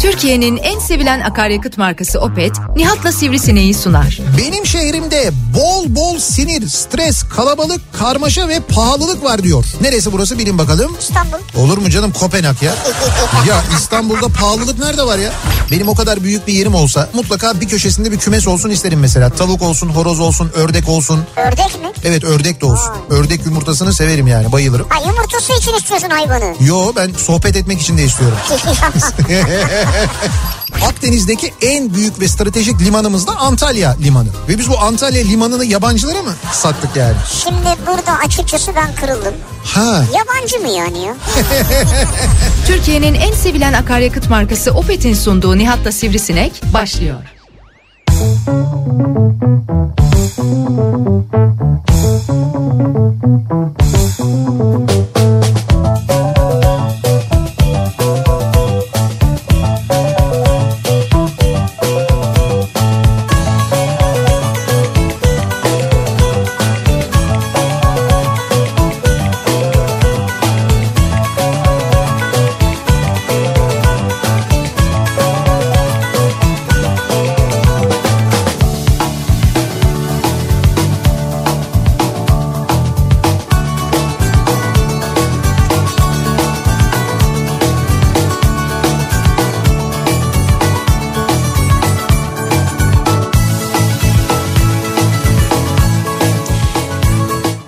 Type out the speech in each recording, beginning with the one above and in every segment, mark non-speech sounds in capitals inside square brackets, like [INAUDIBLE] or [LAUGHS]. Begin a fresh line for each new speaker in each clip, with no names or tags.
Türkiye'nin en sevilen akaryakıt markası Opet, Nihat'la Sivrisineği sunar.
Benim şehrimde bol bol sinir, stres, kalabalık, karmaşa ve pahalılık var diyor. Neresi burası bilin bakalım.
İstanbul.
Olur mu canım Kopenhag ya? ya İstanbul'da pahalılık nerede var ya? Benim o kadar büyük bir yerim olsa mutlaka bir köşesinde bir kümes olsun isterim mesela. Tavuk olsun, horoz olsun, ördek olsun.
Ördek mi?
Evet ördek de olsun. Ördek yumurtasını severim yani bayılırım.
Ha yumurtası için
[LAUGHS]
istiyorsun hayvanı. [LAUGHS]
Yo ben sohbet etmek için de istiyorum. Akdeniz'deki en büyük ve stratejik limanımız da Antalya Limanı. Ve biz bu Antalya Limanı'nı yabancılara mı sattık yani?
Şimdi burada açıkçası ben kırıldım.
Ha.
Yabancı mı yani ya?
Türkiye'nin en sevilen akaryakıt markası Opet'in sunduğu Nihat'la Sivrisinek başlıyor.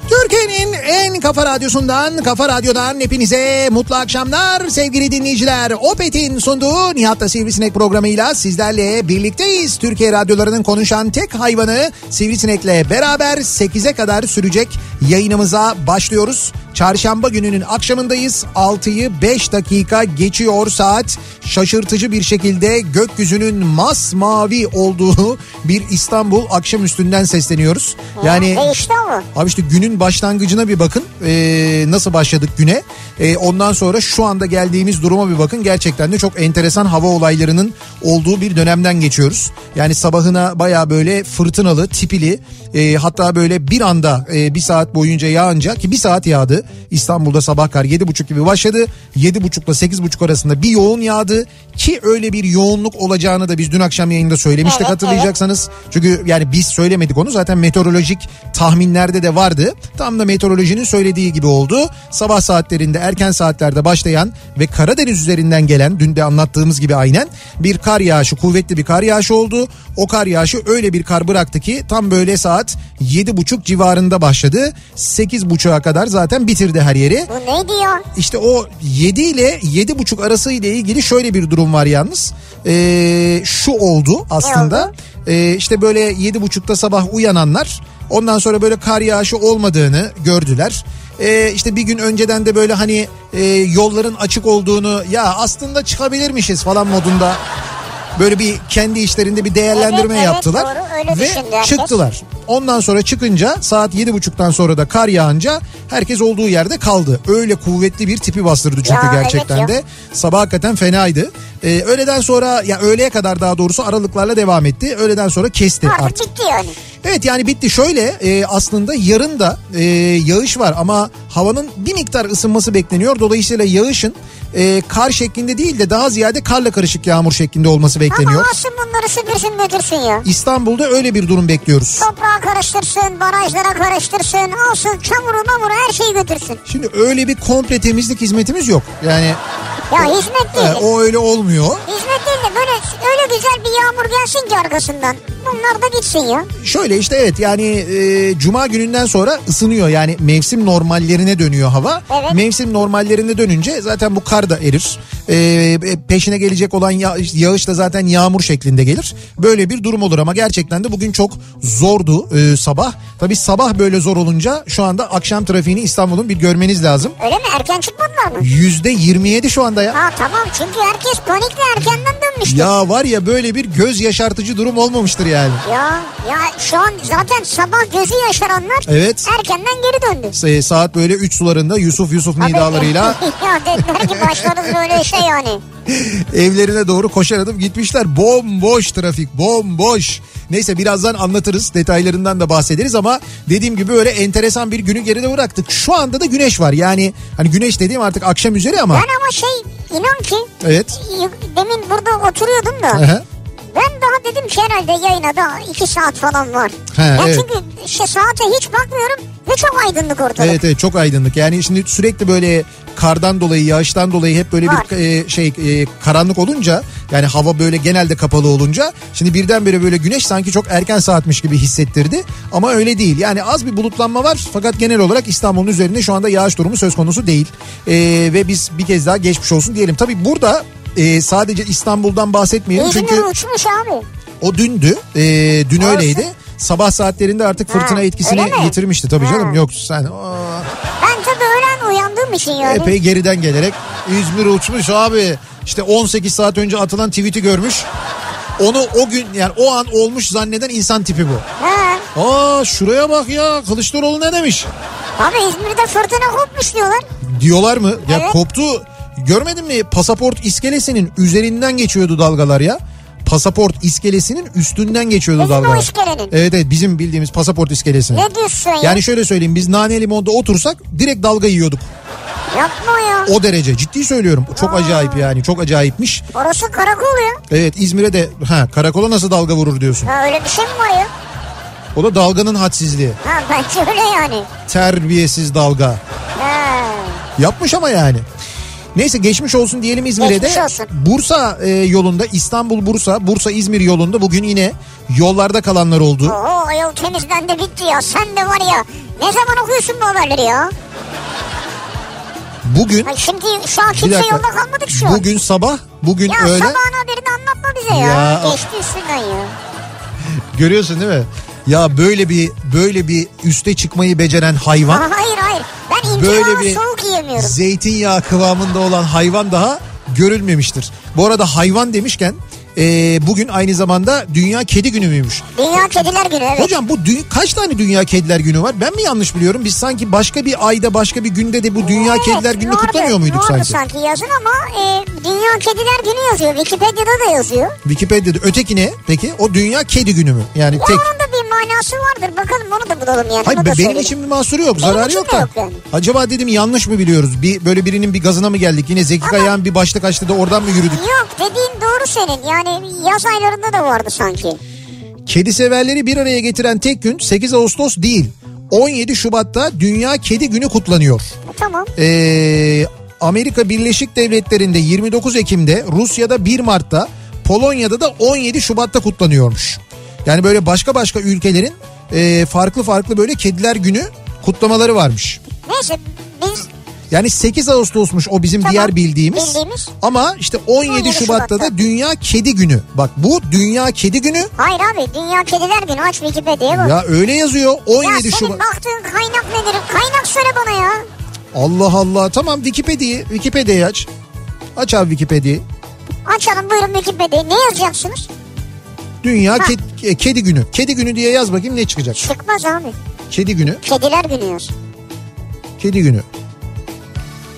Türkiye'nin en kafa radyosundan, kafa radyodan hepinize mutlu akşamlar sevgili dinleyiciler. Opet'in sunduğu Nihat'ta Sivrisinek programıyla sizlerle birlikteyiz. Türkiye radyolarının konuşan tek hayvanı Sivrisinek'le beraber 8'e kadar sürecek yayınımıza başlıyoruz. Çarşamba gününün akşamındayız. 6'yı 5 dakika geçiyor saat. Şaşırtıcı bir şekilde gökyüzünün masmavi olduğu bir İstanbul akşamüstünden sesleniyoruz. Yani
Değişti ama.
Abi işte günün başlangıcına bir bakın. Ee, nasıl başladık güne? Ee, ondan sonra şu anda geldiğimiz duruma bir bakın. Gerçekten de çok enteresan hava olaylarının olduğu bir dönemden geçiyoruz. Yani sabahına baya böyle fırtınalı, tipili e, hatta böyle bir anda e, bir saat boyunca yağınca ki bir saat yağdı. İstanbul'da sabah kar yedi buçuk gibi başladı. Yedi buçukla sekiz buçuk arasında bir yoğun yağdı. Ki öyle bir yoğunluk olacağını da biz dün akşam yayında söylemiştik
Evet,
hatırlayacaksınız hatırlarsanız. Çünkü yani biz söylemedik onu zaten meteorolojik tahminlerde de vardı. Tam da meteorolojinin söylediği gibi oldu. Sabah saatlerinde erken saatlerde başlayan ve Karadeniz üzerinden gelen dün de anlattığımız gibi aynen bir kar yağışı kuvvetli bir kar yağışı oldu. O kar yağışı öyle bir kar bıraktı ki tam böyle saat 7.30 civarında başladı. 8.30'a kadar zaten bitirdi her yeri.
Bu neydi ya?
İşte o 7 ile 7 buçuk arası ile ilgili şöyle bir durum var yalnız. Ee, şu oldu aslında. Ee, işte böyle yedi buçukta sabah uyananlar ondan sonra böyle kar yağışı olmadığını gördüler. Ee, işte bir gün önceden de böyle hani e, yolların açık olduğunu ya aslında çıkabilirmişiz falan modunda böyle bir kendi işlerinde bir değerlendirme
Evet, evet,
yaptılar
doğru. Öyle
ve
düşündü herkes.
çıktılar yaptılar. Ondan sonra çıkınca saat yedi buçuktan sonra da kar yağınca herkes olduğu yerde kaldı. Öyle kuvvetli bir tipi bastırdı çünkü
Ya,
gerçekten
evet
de.
ya.
Sabah hakikaten fenaydı. Ee, öğleden sonra ya öğleye kadar daha doğrusu aralıklarla devam etti. Öğleden sonra kesti E, artık.
Artık bitti yani.
Evet yani bitti. Şöyle e, aslında yarın da e, yağış var ama havanın bir miktar ısınması bekleniyor. Dolayısıyla yağışın e, kar şeklinde değil de daha ziyade karla karışık yağmur şeklinde olması
Ama
bekleniyor.
alsın bunları süpürsün götürsün ya.
İstanbul'da öyle bir durum bekliyoruz.
Toprağa karıştırsın, barajlara karıştırsın, alsın çamuru mamuru her şeyi götürsün.
Şimdi öyle bir komple temizlik hizmetimiz yok. Yani
Ya hizmet
e,
değil.
o öyle olmuyor.
Hizmet değil de böyle öyle güzel bir yağmur gelsin ki arkasından. Bunlar da gitsin ya.
Şöyle işte evet yani e, cuma gününden sonra ısınıyor. Yani mevsim normallerine dönüyor hava.
Evet.
Mevsim normallerine dönünce zaten bu kar da erir. E, e, peşine gelecek olan ya- yağış da zaten yağmur şeklinde gelir. Böyle bir durum olur ama gerçekten de bugün çok zordu e, sabah. Tabii sabah böyle zor olunca şu anda akşam trafiğini İstanbul'un bir görmeniz lazım.
Öyle mi? Erken çıkmadılar mı?
Yüzde 27 şu anda ya.
Ha tamam çünkü herkes panikle erkenden dönmüştü. Ya.
Ya var ya böyle bir göz yaşartıcı durum olmamıştır yani.
ya şu an zaten sabah gözü yaşaranlar
Evet.
erkenden geri döndü.
Se- Saat böyle 3 sularında Yusuf Yusuf nidalarıyla
[LAUGHS] ya dediler ki başlarız böyle şey yani.
evlerine doğru koşar adım gitmişler. Bomboş trafik, bomboş. Neyse birazdan anlatırız, detaylarından da bahsederiz ama dediğim gibi öyle enteresan bir günü geride bıraktık. Şu anda da güneş var yani hani güneş dediğim artık akşam üzeri ama
Ben ama şey inan ki
Evet.
y- demin burada oturuyordum da
Aha.
ben daha dedim ki herhalde yayına daha iki saat falan var.
Ha,
ya
evet.
Çünkü işte saate hiç bakmıyorum ve çok aydınlık ortalık.
Evet evet çok aydınlık. Yani şimdi sürekli böyle kardan dolayı, yağıştan dolayı hep böyle
Var.
bir e, şey e, karanlık olunca yani hava böyle genelde kapalı olunca şimdi birdenbire böyle güneş sanki çok erken saatmiş gibi hissettirdi ama öyle değil. Yani az bir bulutlanma var fakat genel olarak İstanbul'un üzerinde şu anda yağış durumu söz konusu değil. E, ve biz bir kez daha geçmiş olsun diyelim. Tabii burada e, sadece İstanbul'dan bahsetmeyelim
İzmir
çünkü
uçmuş abi.
o dündü. Ee, dün
Olsun.
öyleydi. Sabah saatlerinde artık fırtına
Ha,
etkisini
öyle mi?
yitirmişti tabii
Ha.
canım. Yok sen aa,
Ben tabii öğlen uyandığım için yani.
epey geriden gelerek İzmir uçmuş abi. İşte 18 saat önce atılan tweet'i görmüş. Onu o gün yani o an olmuş zanneden insan tipi bu.
Ha.
Aa şuraya bak ya Kılıçdaroğlu ne demiş?
Abi İzmir'de fırtına kopmuş diyorlar.
Diyorlar mı? Ya
Evet.
koptu. Görmedin mi? Pasaport iskelesinin üzerinden geçiyordu dalgalar ya. Pasaport iskelesinin üstünden geçiyordu
Bizim o
dalgalar.
iskelenin.
Evet evet bizim bildiğimiz pasaport iskelesinin.
Ne diyorsun sen ya?
Yani şöyle söyleyeyim biz nane limonda otursak direkt dalga yiyorduk.
Yapma ya.
O derece ciddi söylüyorum. Çok acayip yani çok acayipmiş.
Orası karakol ya.
Evet İzmir'e de ha, karakola nasıl dalga vurur diyorsun.
Ha, öyle bir şey mi var ya?
O da dalganın hadsizliği.
Ha, [LAUGHS] bence öyle yani.
Terbiyesiz dalga.
Ha.
Yapmış ama yani. Neyse geçmiş olsun diyelim İzmir'e de.
Geçmiş olsun.
Bursa e, yolunda İstanbul Bursa Bursa İzmir yolunda bugün yine yollarda kalanlar oldu.
Oo o yol temizlendi bitti ya. Sen de var ya. Ne zaman okuyorsun bu haberleri ya?
Bugün
Ay şimdi şu an
bir
kimse
dakika.
yolda kalmadık şu an.
Bugün sabah, bugün
ya
öğlen
sabahın haberini anlatma bize ya.
Ya.
Geçti üstünden ya.
görüyorsun değil mi? Ya böyle bir böyle bir üste çıkmayı beceren hayvan.
Aa, hayır hayır. Ben
böyle
intiharlı
bir
soğuk yiyemiyorum.
zeytinyağı kıvamında olan hayvan daha görülmemiştir. Bu arada hayvan demişken e, bugün aynı zamanda Dünya Kedi Günü müymüş?
Dünya Kediler Günü evet.
Hocam bu dü- kaç tane Dünya Kediler Günü var? Ben mi yanlış biliyorum? Biz sanki başka bir ayda başka bir günde de bu Dünya
Evet,
Kediler Günü'nü
vardı,
kutlamıyor muyduk
vardı
sanki?
sanki yazın ama e, Dünya Kediler Günü yazıyor. Wikipedia'da da yazıyor.
Wikipedia'da öteki ne peki? O Dünya Kedi Günü mü? Yani
Ya
tek.
onun da bir manası vardır. Bakalım onu da bulalım yani.
Hayır
onu
be-
da
benim
söyleyeyim.
için bir mahsuru yok, zararı
için
yok
de
da.
yok yani.
Acaba dedim yanlış mı biliyoruz? Bir böyle birinin bir gazına mı geldik? Yine Zeki Kayağan bir başlık açtı da oradan mı yürüdük?
Yok dediğin doğru senin. Yani yaz aylarında da vardı sanki.
Kedi severleri bir araya getiren tek gün 8 Ağustos değil. 17 Şubat'ta Dünya Kedi Günü kutlanıyor.
E, Tamam.
Ee, Amerika Birleşik Devletleri'nde 29 Ekim'de, Rusya'da 1 Mart'ta, Polonya'da da 17 Şubat'ta kutlanıyormuş. Yani böyle başka başka ülkelerin e, farklı farklı böyle Kediler Günü kutlamaları varmış.
Neyse biz
Yani 8 Ağustos'muş o bizim
Tamam,
diğer bildiğimiz.
bildiğimiz.
Ama işte 17,
17
Şubat'ta, da
Şubat'ta.
Dünya Kedi Günü. Bak bu Dünya Kedi Günü.
hayır abi Dünya Kediler Günü aç Wikipedia'ya bak.
Ya öyle yazıyor 17
Ya senin
Şubat.
baktığın kaynak nedir? Kaynak söyle bana ya.
Allah Allah. Tamam Wikipedia'yı Wikipedia'yı aç. Aç abi Wikipedia'yı.
Açalım buyurun Wikipedia'yı. Ne yazacaksınız?
Dünya
Ha.
ke- e, kedi günü. Kedi günü diye yaz bakayım ne çıkacak?
Çıkmaz abi.
Kedi günü.
Kediler Günü yaz.
Kedi günü.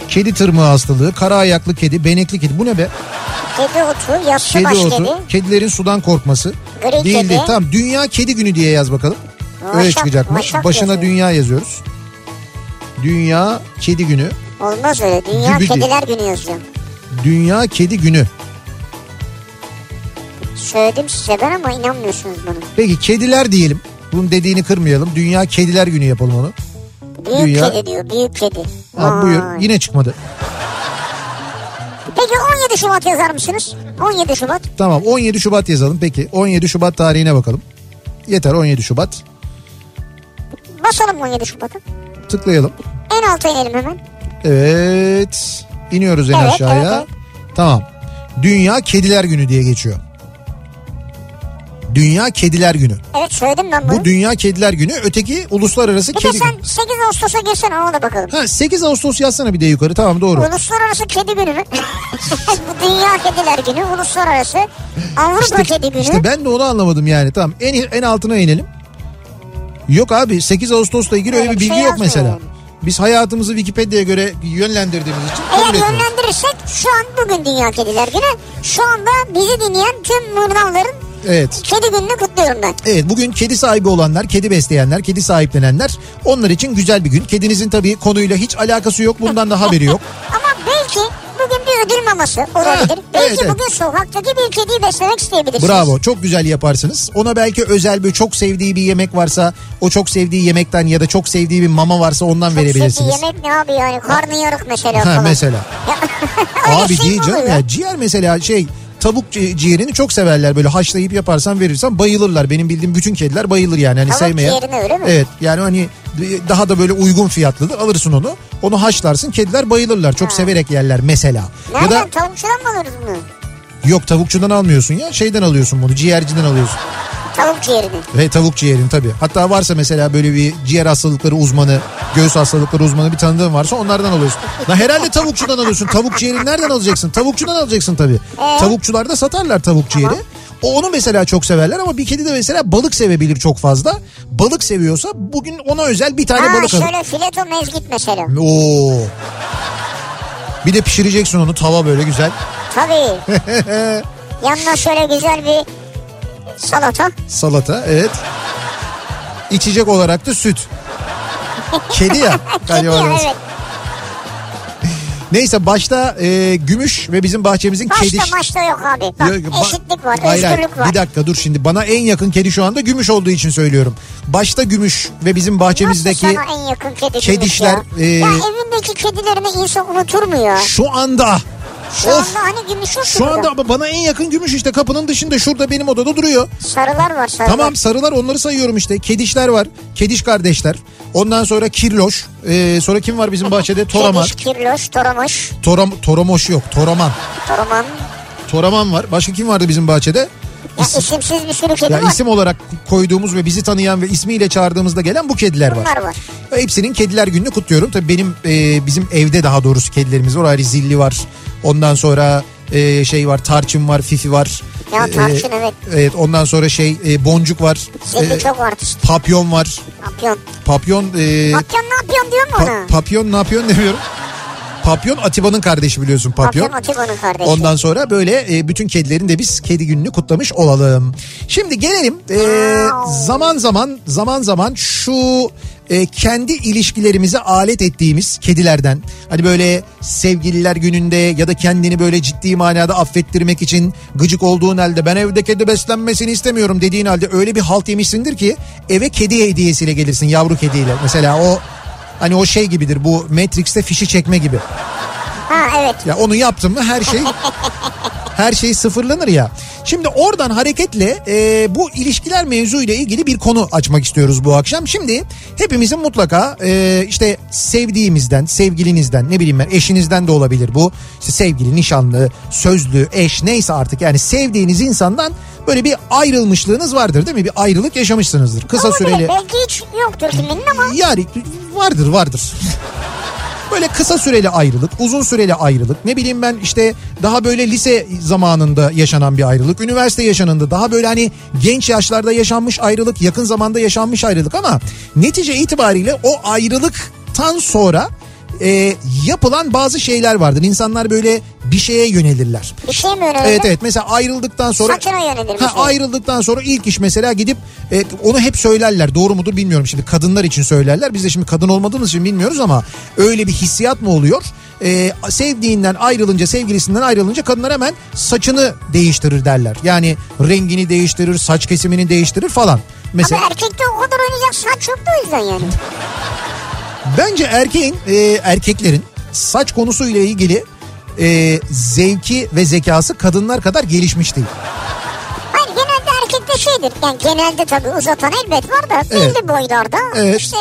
Kedi tırmığı hastalığı, kara ayaklı kedi, benekli kedi. Bu ne be?
Kedi otu, yassı
Kedi
baş
otu,
kedi.
kedilerin sudan korkması.
Gri
değil
kedi.
değil. Tamam Dünya Kedi Günü diye yaz bakalım. Öyle
Vaşak-
çıkacakmış.
vaşak
Başına
yazıyor.
dünya yazıyoruz. Dünya Kedi Günü.
Olmaz öyle. Dünya
Gibi diyor.
Kediler Günü yazacağım.
Dünya Kedi Günü.
Söyledim size ben ama inanmıyorsunuz bana.
Peki kediler diyelim. Bunun dediğini kırmayalım. Dünya Kediler Günü yapalım onu.
Büyük
Dünya-
kedi diyor. Büyük kedi.
Ha, buyur.
Vay.
Yine çıkmadı.
Peki 17 Şubat yazar mısınız? 17 Şubat.
Tamam 17 Şubat yazalım peki. 17 Şubat tarihine bakalım. Yeter 17 Şubat.
Basalım 17 Şubat'ı.
Tıklayalım.
En alta inelim hemen.
Evet. İniyoruz en
Evet,
aşağıya.
evet,
Tamam. Dünya Kediler Günü diye geçiyor. Dünya Kediler Günü.
Evet söyledim ben bunu.
Bu Dünya Kediler Günü. Öteki Uluslararası
bir
Kedi
de sen
Günü.
8 Ağustos'a girsene ona da bakalım.
Ha 8 Ağustos yazsana bir de yukarı. Tamam doğru.
Uluslararası Kedi
[LAUGHS]
Günü mü? Bu Dünya Kediler Günü. Uluslararası Avrupa Kedi Günü.
işte ben de onu anlamadım yani. Tamam en en altına inelim. Yok abi 8 Ağustos'la ilgili öyle bir
Öyle bir
bilgi
şey
yok
yazmıyor
mesela.
yani.
Biz hayatımızı Wikipedia'ya göre yönlendirdiğimiz için kabul
Eğer
etmiyoruz.
yönlendirirsek şu an bugün Dünya Kediler Günü. Şu anda bizi dinleyen tüm mırnavların
Evet.
Kedi Günü'nü kutluyorum ben.
Evet bugün kedi sahibi olanlar, kedi besleyenler, kedi sahiplenenler onlar için
[LAUGHS]
güzel bir gün. Kedinizin tabii konuyla hiç alakası yok. Bundan da haberi yok.
Ama belki bugün bir ödül maması olabilir.
Ha,
Belki
evet, evet.
bugün sokaktaki bir kediyi beslemek isteyebilirsiniz.
Bravo çok güzel yaparsınız. Ona belki özel bir çok sevdiği bir yemek varsa o çok sevdiği yemekten ya da çok sevdiği bir mama varsa ondan
Çok sevdiği
verebilirsiniz.
yemek ne abi yani karnıyarık mesela
Ha
falan.
mesela.
Öyle
[LAUGHS] Abi
şey
değil
mi
canım
oluyor?
ya ciğer mesela şey tavuk ci- ciğerini çok severler böyle haşlayıp yaparsan verirsen bayılırlar. Benim bildiğim bütün kediler bayılır yani hani
Tavuk
sevmeyen.
ciğerini öyle mi?
Evet yani hani daha da böyle uygun fiyatlıdır alırsın onu. Onu haşlarsın kediler bayılırlar çok severek yerler mesela.
Nereden
Ya da
tavukçudan mı alırız bunu?
yok tavukçudan almıyorsun ya şeyden alıyorsun bunu ciğerciden alıyorsun.
Tavuk ciğerini.
Ve tavuk ciğerin tabii. Hatta varsa mesela böyle bir ciğer hastalıkları uzmanı, göğüs hastalıkları uzmanı bir tanıdığın varsa onlardan alıyorsun. La herhalde tavukçudan alıyorsun. Tavuk ciğerini nereden alacaksın? Tavukçudan alacaksın tabii. Tavukçularda satarlar tavuk ciğeri. O onu mesela çok severler ama bir kedi de mesela balık sevebilir çok fazla. Balık seviyorsa bugün ona özel bir tane
Ha
balık alır.
şöyle fileto mezgit mesela.
Oo. Bir de pişireceksin onu tava böyle güzel.
Tabii.
[LAUGHS]
Yanına şöyle güzel bir salata.
Salata evet. İçecek olarak da süt. Kedi ya.
Kedi ya, evet.
Neyse başta e, Gümüş ve bizim bahçemizin
Başta
kediş...
başta yok abi. Bak,
Yok, ba-
eşitlik var,
Hayır, hayır.
özgürlük var.
Bir dakika dur şimdi bana en yakın kedi şu anda Gümüş olduğu için söylüyorum. Başta Gümüş ve bizim bahçemizdeki...
Nasıl sana en yakın kedi
kedişler, e,
ya? ya evindeki kedilerini insan unutur mu ya?
Şu anda...
Şu
of!
anda hani gümüş oturuyor.
Şu anda ama bana en yakın gümüş işte kapının dışında şurada benim odada duruyor.
Sarılar var sarılar.
Tamam sarılar onları sayıyorum işte. Kedişler var. Kediş kardeşler. Ondan sonra kirloş. Ee, sonra kim var bizim
[LAUGHS]
bahçede? Toraman.
Kediş, kirloş, toramış,
Toram, toramoş yok. Toraman.
toraman.
Toraman var. Başka kim vardı bizim bahçede?
Ya
İsim-
isimsiz bir sürü kedi
ya
var.
isim olarak koyduğumuz ve bizi tanıyan ve ismiyle çağırdığımızda gelen bu kediler var.
Bunlar var.
Hepsinin kediler gününü kutluyorum. Tabii benim e, bizim evde daha doğrusu kedilerimiz var. Ayrı zilli var. Ondan sonra e, şey var tarçın var fifi var.
Ya
E,
tarçın, evet.
Evet ondan sonra şey e, boncuk var.
Zilli
E,
çok artist.
Papyon var.
Papyon.
Papyon e,
Papyon ne yapıyorsun diyor mu
pa-
ona?
papyon ne yapıyorsun demiyorum. Papyon Atiba'nın kardeşi biliyorsun
Papyon,
Papyon.
Atiba'nın kardeşi.
Ondan sonra böyle e, bütün kedilerin de biz kedi gününü kutlamış olalım. Şimdi gelelim e, zaman zaman zaman zaman şu e, kendi ilişkilerimize alet ettiğimiz kedilerden hani böyle sevgililer gününde ya da kendini böyle ciddi manada affettirmek için gıcık olduğun halde ben evde kedi beslenmesini istemiyorum dediğin halde öyle bir halt yemişsindir ki eve kedi hediyesiyle gelirsin yavru kediyle. Mesela o hani o şey gibidir bu Matrix'te fişi çekme gibi.
Ha evet.
Ya onu yaptın mı her şey her şey sıfırlanır ya. Şimdi oradan hareketle e, bu ilişkiler mevzuyla ilgili bir konu açmak istiyoruz bu akşam. Şimdi hepimizin mutlaka e, işte sevdiğimizden, sevgilinizden, ne bileyim ben eşinizden de olabilir bu. İşte sevgili, nişanlı, sözlü, eş neyse artık yani sevdiğiniz insandan böyle bir ayrılmışlığınız vardır değil mi? Bir ayrılık yaşamışsınızdır. Kısa
Olabilir.
süreli.
Belki hiç yoktur kiminin ama.
Yani vardır vardır. Böyle kısa süreli ayrılık, uzun süreli ayrılık. Ne bileyim ben işte daha böyle lise zamanında yaşanan bir ayrılık, üniversite yaşanında daha böyle hani genç yaşlarda yaşanmış ayrılık, yakın zamanda yaşanmış ayrılık ama netice itibariyle o ayrılıktan sonra e, yapılan bazı şeyler vardır. İnsanlar böyle bir şeye yönelirler.
Bir şey mi önemli?
Evet evet mesela ayrıldıktan sonra
Saçına yönelir
Ha,
mesela.
ayrıldıktan sonra ilk iş mesela gidip e, onu hep söylerler doğru mudur bilmiyorum şimdi kadınlar için söylerler biz de şimdi kadın olmadığımız için bilmiyoruz ama öyle bir hissiyat mı oluyor? E, sevdiğinden ayrılınca sevgilisinden ayrılınca kadınlar hemen saçını değiştirir derler yani rengini değiştirir saç kesimini değiştirir falan.
Abi
Mesela
erkekte o kadar oynayacak saç yok da o yüzden yani. er-
Bence erkeğin e, erkeklerin saç konusuyla ilgili e, zevki ve zekası kadınlar kadar gelişmiş değil.
Hayır genelde erkekte şeydir. Yani genelde tabii uzatan elbet var da
Evet.
belli boylarda.
Evet.
İşte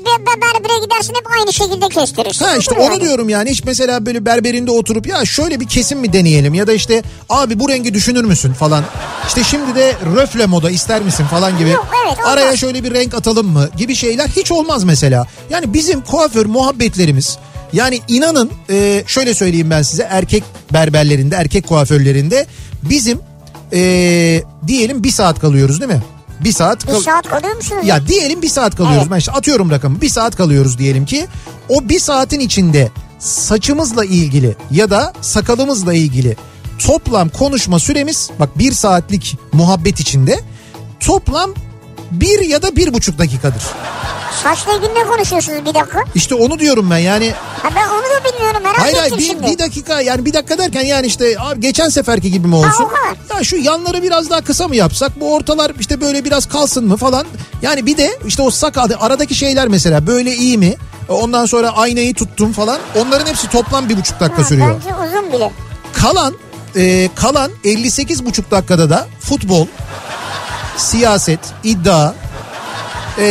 be- be- berbere gidersin hep aynı şekilde kestirirsin.
Ha işte
Budur
onu
yani.
diyorum yani hiç mesela böyle berberinde oturup ya şöyle bir kesim mi deneyelim ya da işte abi bu rengi düşünür müsün falan. İşte şimdi de röfle moda ister misin falan gibi.
Yok, evet, olmaz.
Araya şöyle bir renk atalım mı gibi şeyler hiç olmaz mesela. Yani bizim kuaför muhabbetlerimiz yani inanın e, şöyle söyleyeyim ben size erkek berberlerinde erkek kuaförlerinde bizim e, diyelim bir saat kalıyoruz değil mi? Bir saat
Bir
kal-
saat kalıyor musunuz?
ya diyelim bir saat kalıyoruz.
Evet.
Ben işte atıyorum rakamı. Bir saat kalıyoruz diyelim ki. O bir saatin içinde saçımızla ilgili ya da sakalımızla ilgili toplam konuşma süremiz bak bir saatlik muhabbet içinde toplam bir ya da bir buçuk dakikadır.
Saçla ilgili ne konuşuyorsunuz bir dakika?
İşte onu diyorum ben yani.
Ha ben onu da bilmiyorum merak
Hayır
ettim
hayır bir,
şimdi.
bir dakika yani bir dakika derken yani işte abi geçen seferki gibi mi
Ha,
olsun?
o kadar.
Ya şu yanları biraz daha kısa mı yapsak? Bu ortalar işte böyle biraz kalsın mı falan? Yani bir de işte o sakal aradaki şeyler mesela böyle iyi mi? E, Ondan sonra aynayı tuttum falan. Onların hepsi toplam bir buçuk dakika
Ha,
sürüyor.
Bence uzun bile.
Kalan e, kalan 58 buçuk dakikada da futbol, siyaset, iddia e,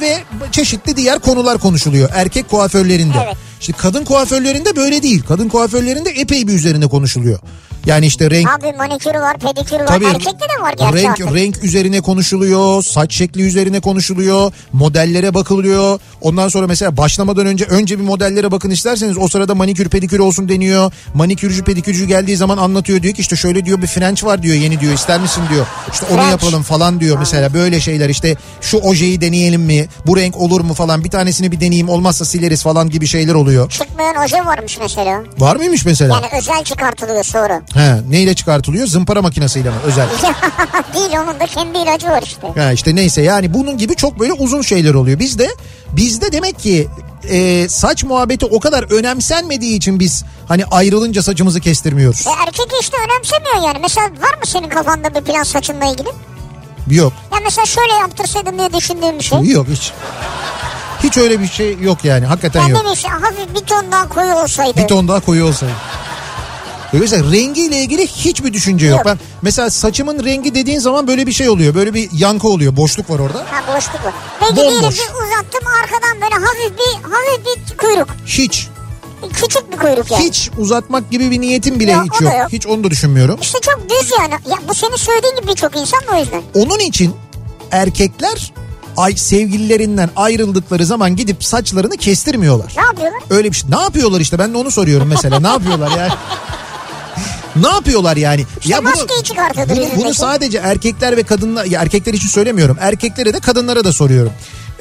ve çeşitli diğer konular konuşuluyor erkek kuaförlerinde.
Evet.
Şimdi kadın kuaförlerinde böyle değil. Kadın kuaförlerinde epey bir üzerinde konuşuluyor. Yani işte renk
Abi manikürü var pedikürü var.
Tabii.
Erkekte de var gerçi
renk,
artık.
renk üzerine konuşuluyor, saç şekli üzerine konuşuluyor, modellere bakılıyor. Ondan sonra mesela başlamadan önce önce bir modellere bakın isterseniz o sırada manikür pedikür olsun deniyor. Manikürcü pedikürcü geldiği zaman anlatıyor diyor ki işte şöyle diyor bir french var diyor yeni diyor ister misin diyor. İşte onu
French.
yapalım falan diyor mesela böyle şeyler işte şu ojeyi deneyelim mi bu renk olur mu falan bir tanesini bir deneyeyim olmazsa sileriz falan gibi şeyler oluyor.
Çıkmayan oje varmış mesela.
Var mıymış mesela?
Yani özel çıkartılıyor sonra.
He, neyle çıkartılıyor? Zımpara makinesiyle mi özel?
[LAUGHS] Değil onun da kendi ilacı var işte.
Ha işte neyse yani bunun gibi çok böyle uzun şeyler oluyor. Bizde bizde demek ki e, saç muhabbeti o kadar önemsenmediği için biz hani ayrılınca saçımızı kestirmiyoruz.
E erkek işte önemsemiyor yani. Mesela var mı senin kafanda bir plan saçınla ilgili?
Yok.
Ya mesela şöyle yaptırsaydım diye düşündüğüm bir şey.
Yok hiç. Hiç öyle bir şey yok yani. Hakikaten
Yani
yok.
ne bileyim hafif bir ton daha koyu olsaydı.
Bir ton daha koyu olsaydı. Mesela rengiyle ilgili hiçbir düşünce yok.
Yok.
Ben mesela saçımın rengi dediğin zaman böyle bir şey oluyor. Böyle bir yankı oluyor. Boşluk var orada.
Ha boşluk var. Ve
Bomboş.
gidiyorum bir uzattım arkadan böyle hafif bir hafif bir kuyruk.
Hiç.
Küçük bir kuyruk yani.
Hiç uzatmak gibi bir niyetim bile
Ya,
hiç
o da
yok.
yok.
Hiç onu da düşünmüyorum.
İşte çok düz yani. Ya bu senin söylediğin gibi birçok insan da o yüzden.
Onun için erkekler ay sevgililerinden ayrıldıkları zaman gidip saçlarını kestirmiyorlar.
Ne yapıyorlar?
Öyle bir şey. Ne yapıyorlar işte ben de onu soruyorum mesela. ne yapıyorlar yani? Ne yapıyorlar yani?
maskeyi çıkartıyordur
bunu, bunu
yüzündeki.
sadece erkekler ve kadınlar, ya erkekler için söylemiyorum. Erkeklere de kadınlara da soruyorum.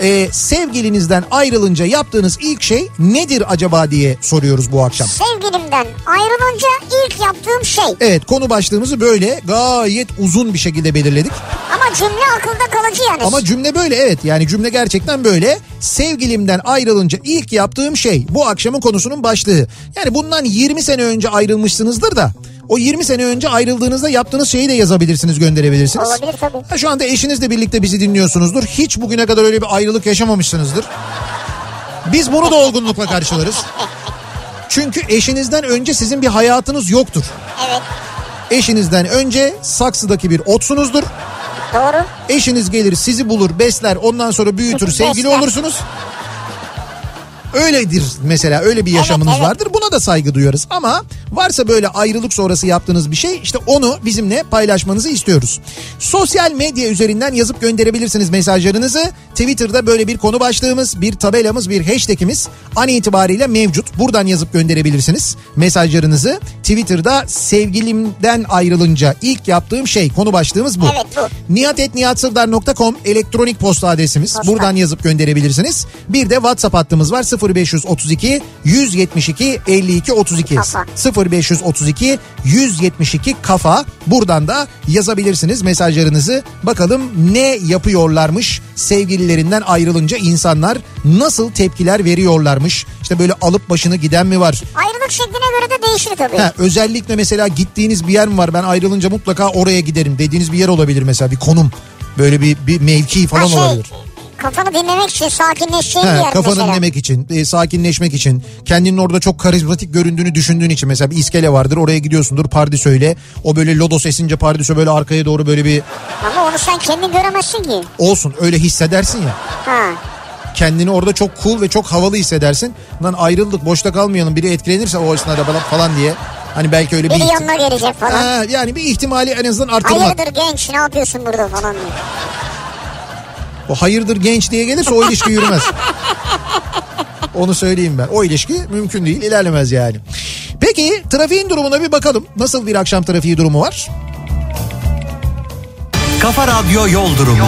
Ee, sevgilinizden ayrılınca yaptığınız ilk şey nedir acaba diye soruyoruz bu akşam.
Sevgilimden ayrılınca ilk yaptığım şey.
Evet konu başlığımızı böyle gayet uzun bir şekilde belirledik.
Ama cümle akılda kalıcı yani.
Ama cümle böyle evet yani cümle gerçekten böyle. Sevgilimden ayrılınca ilk yaptığım şey bu akşamın konusunun başlığı. Yani bundan 20 sene önce ayrılmışsınızdır da o 20 sene önce ayrıldığınızda yaptığınız şeyi de yazabilirsiniz gönderebilirsiniz.
Olabilir tabii.
Ha, Şu anda eşinizle birlikte bizi dinliyorsunuzdur. Hiç bugüne kadar öyle bir ayrılık yaşamamışsınızdır. Biz bunu da olgunlukla karşılarız. Çünkü eşinizden önce sizin bir hayatınız yoktur.
Evet
Eşinizden önce saksıdaki bir otsunuzdur.
doğru.
Eşiniz gelir sizi bulur besler ondan sonra büyütür sevgili
Besler.
olursunuz. Öyledir mesela öyle bir yaşamınız
evet.
vardır buna da saygı duyarız ama varsa böyle ayrılık sonrası yaptığınız bir şey işte onu bizimle paylaşmanızı istiyoruz. Sosyal medya üzerinden yazıp gönderebilirsiniz mesajlarınızı. Twitter'da böyle bir konu başlığımız, bir tabelamız, bir hashtagimiz an itibariyle mevcut. Buradan yazıp gönderebilirsiniz mesajlarınızı. Twitter'da sevgilimden ayrılınca ilk yaptığım şey konu başlığımız bu.
Evet, bu.
Nihatetnihatsırdar.com elektronik posta adresimiz.
Posta.
Buradan yazıp gönderebilirsiniz. Bir de WhatsApp hattımız var 0532 172 52 32.
Kafa.
0532 172 kafa. Buradan da yazabilirsiniz mesajlarınızı. Bakalım ne yapıyorlarmış sevgililerinden ayrılınca insanlar nasıl tepkiler veriyorlarmış. İşte böyle alıp başını giden mi var?
Ayrılık şekline göre de değişir tabii.
Ha, özellikle mesela gittiğiniz bir yer mi var ben ayrılınca mutlaka oraya giderim dediğiniz bir yer olabilir mesela bir konum. Böyle bir, bir mevki falan
Ha, şey,
olabilir.
Kafanı dinlemek için sakinleşeceğin bir
Ha,
yer
kafanı
mesela.
dinlemek için, e, sakinleşmek için, kendinin orada çok karizmatik göründüğünü düşündüğün için mesela bir iskele vardır oraya gidiyorsundur pardisöyle O böyle lodos esince pardisö böyle arkaya doğru böyle bir
Ama onu sen kendin göremezsin ki.
olsun öyle hissedersin ya.
Ha.
Kendini orada çok cool ve çok havalı hissedersin. Lan ayrıldık boşta kalmayalım biri etkilenirse o esnada falan- falan diye. Hani belki öyle bir...
Biri
ihtim-
yanına gelecek falan.
Ha, yani bir ihtimali en azından artırmak.
Hayırdır genç ne yapıyorsun burada
[LAUGHS]
falan diye.
O hayırdır genç diye gelirse o ilişki yürümez. Onu söyleyeyim ben. O ilişki mümkün değil, ilerlemez yani. Peki trafiğin durumuna bir bakalım. Nasıl bir akşam trafiği durumu var?
Kafa Radyo Yol Durumu.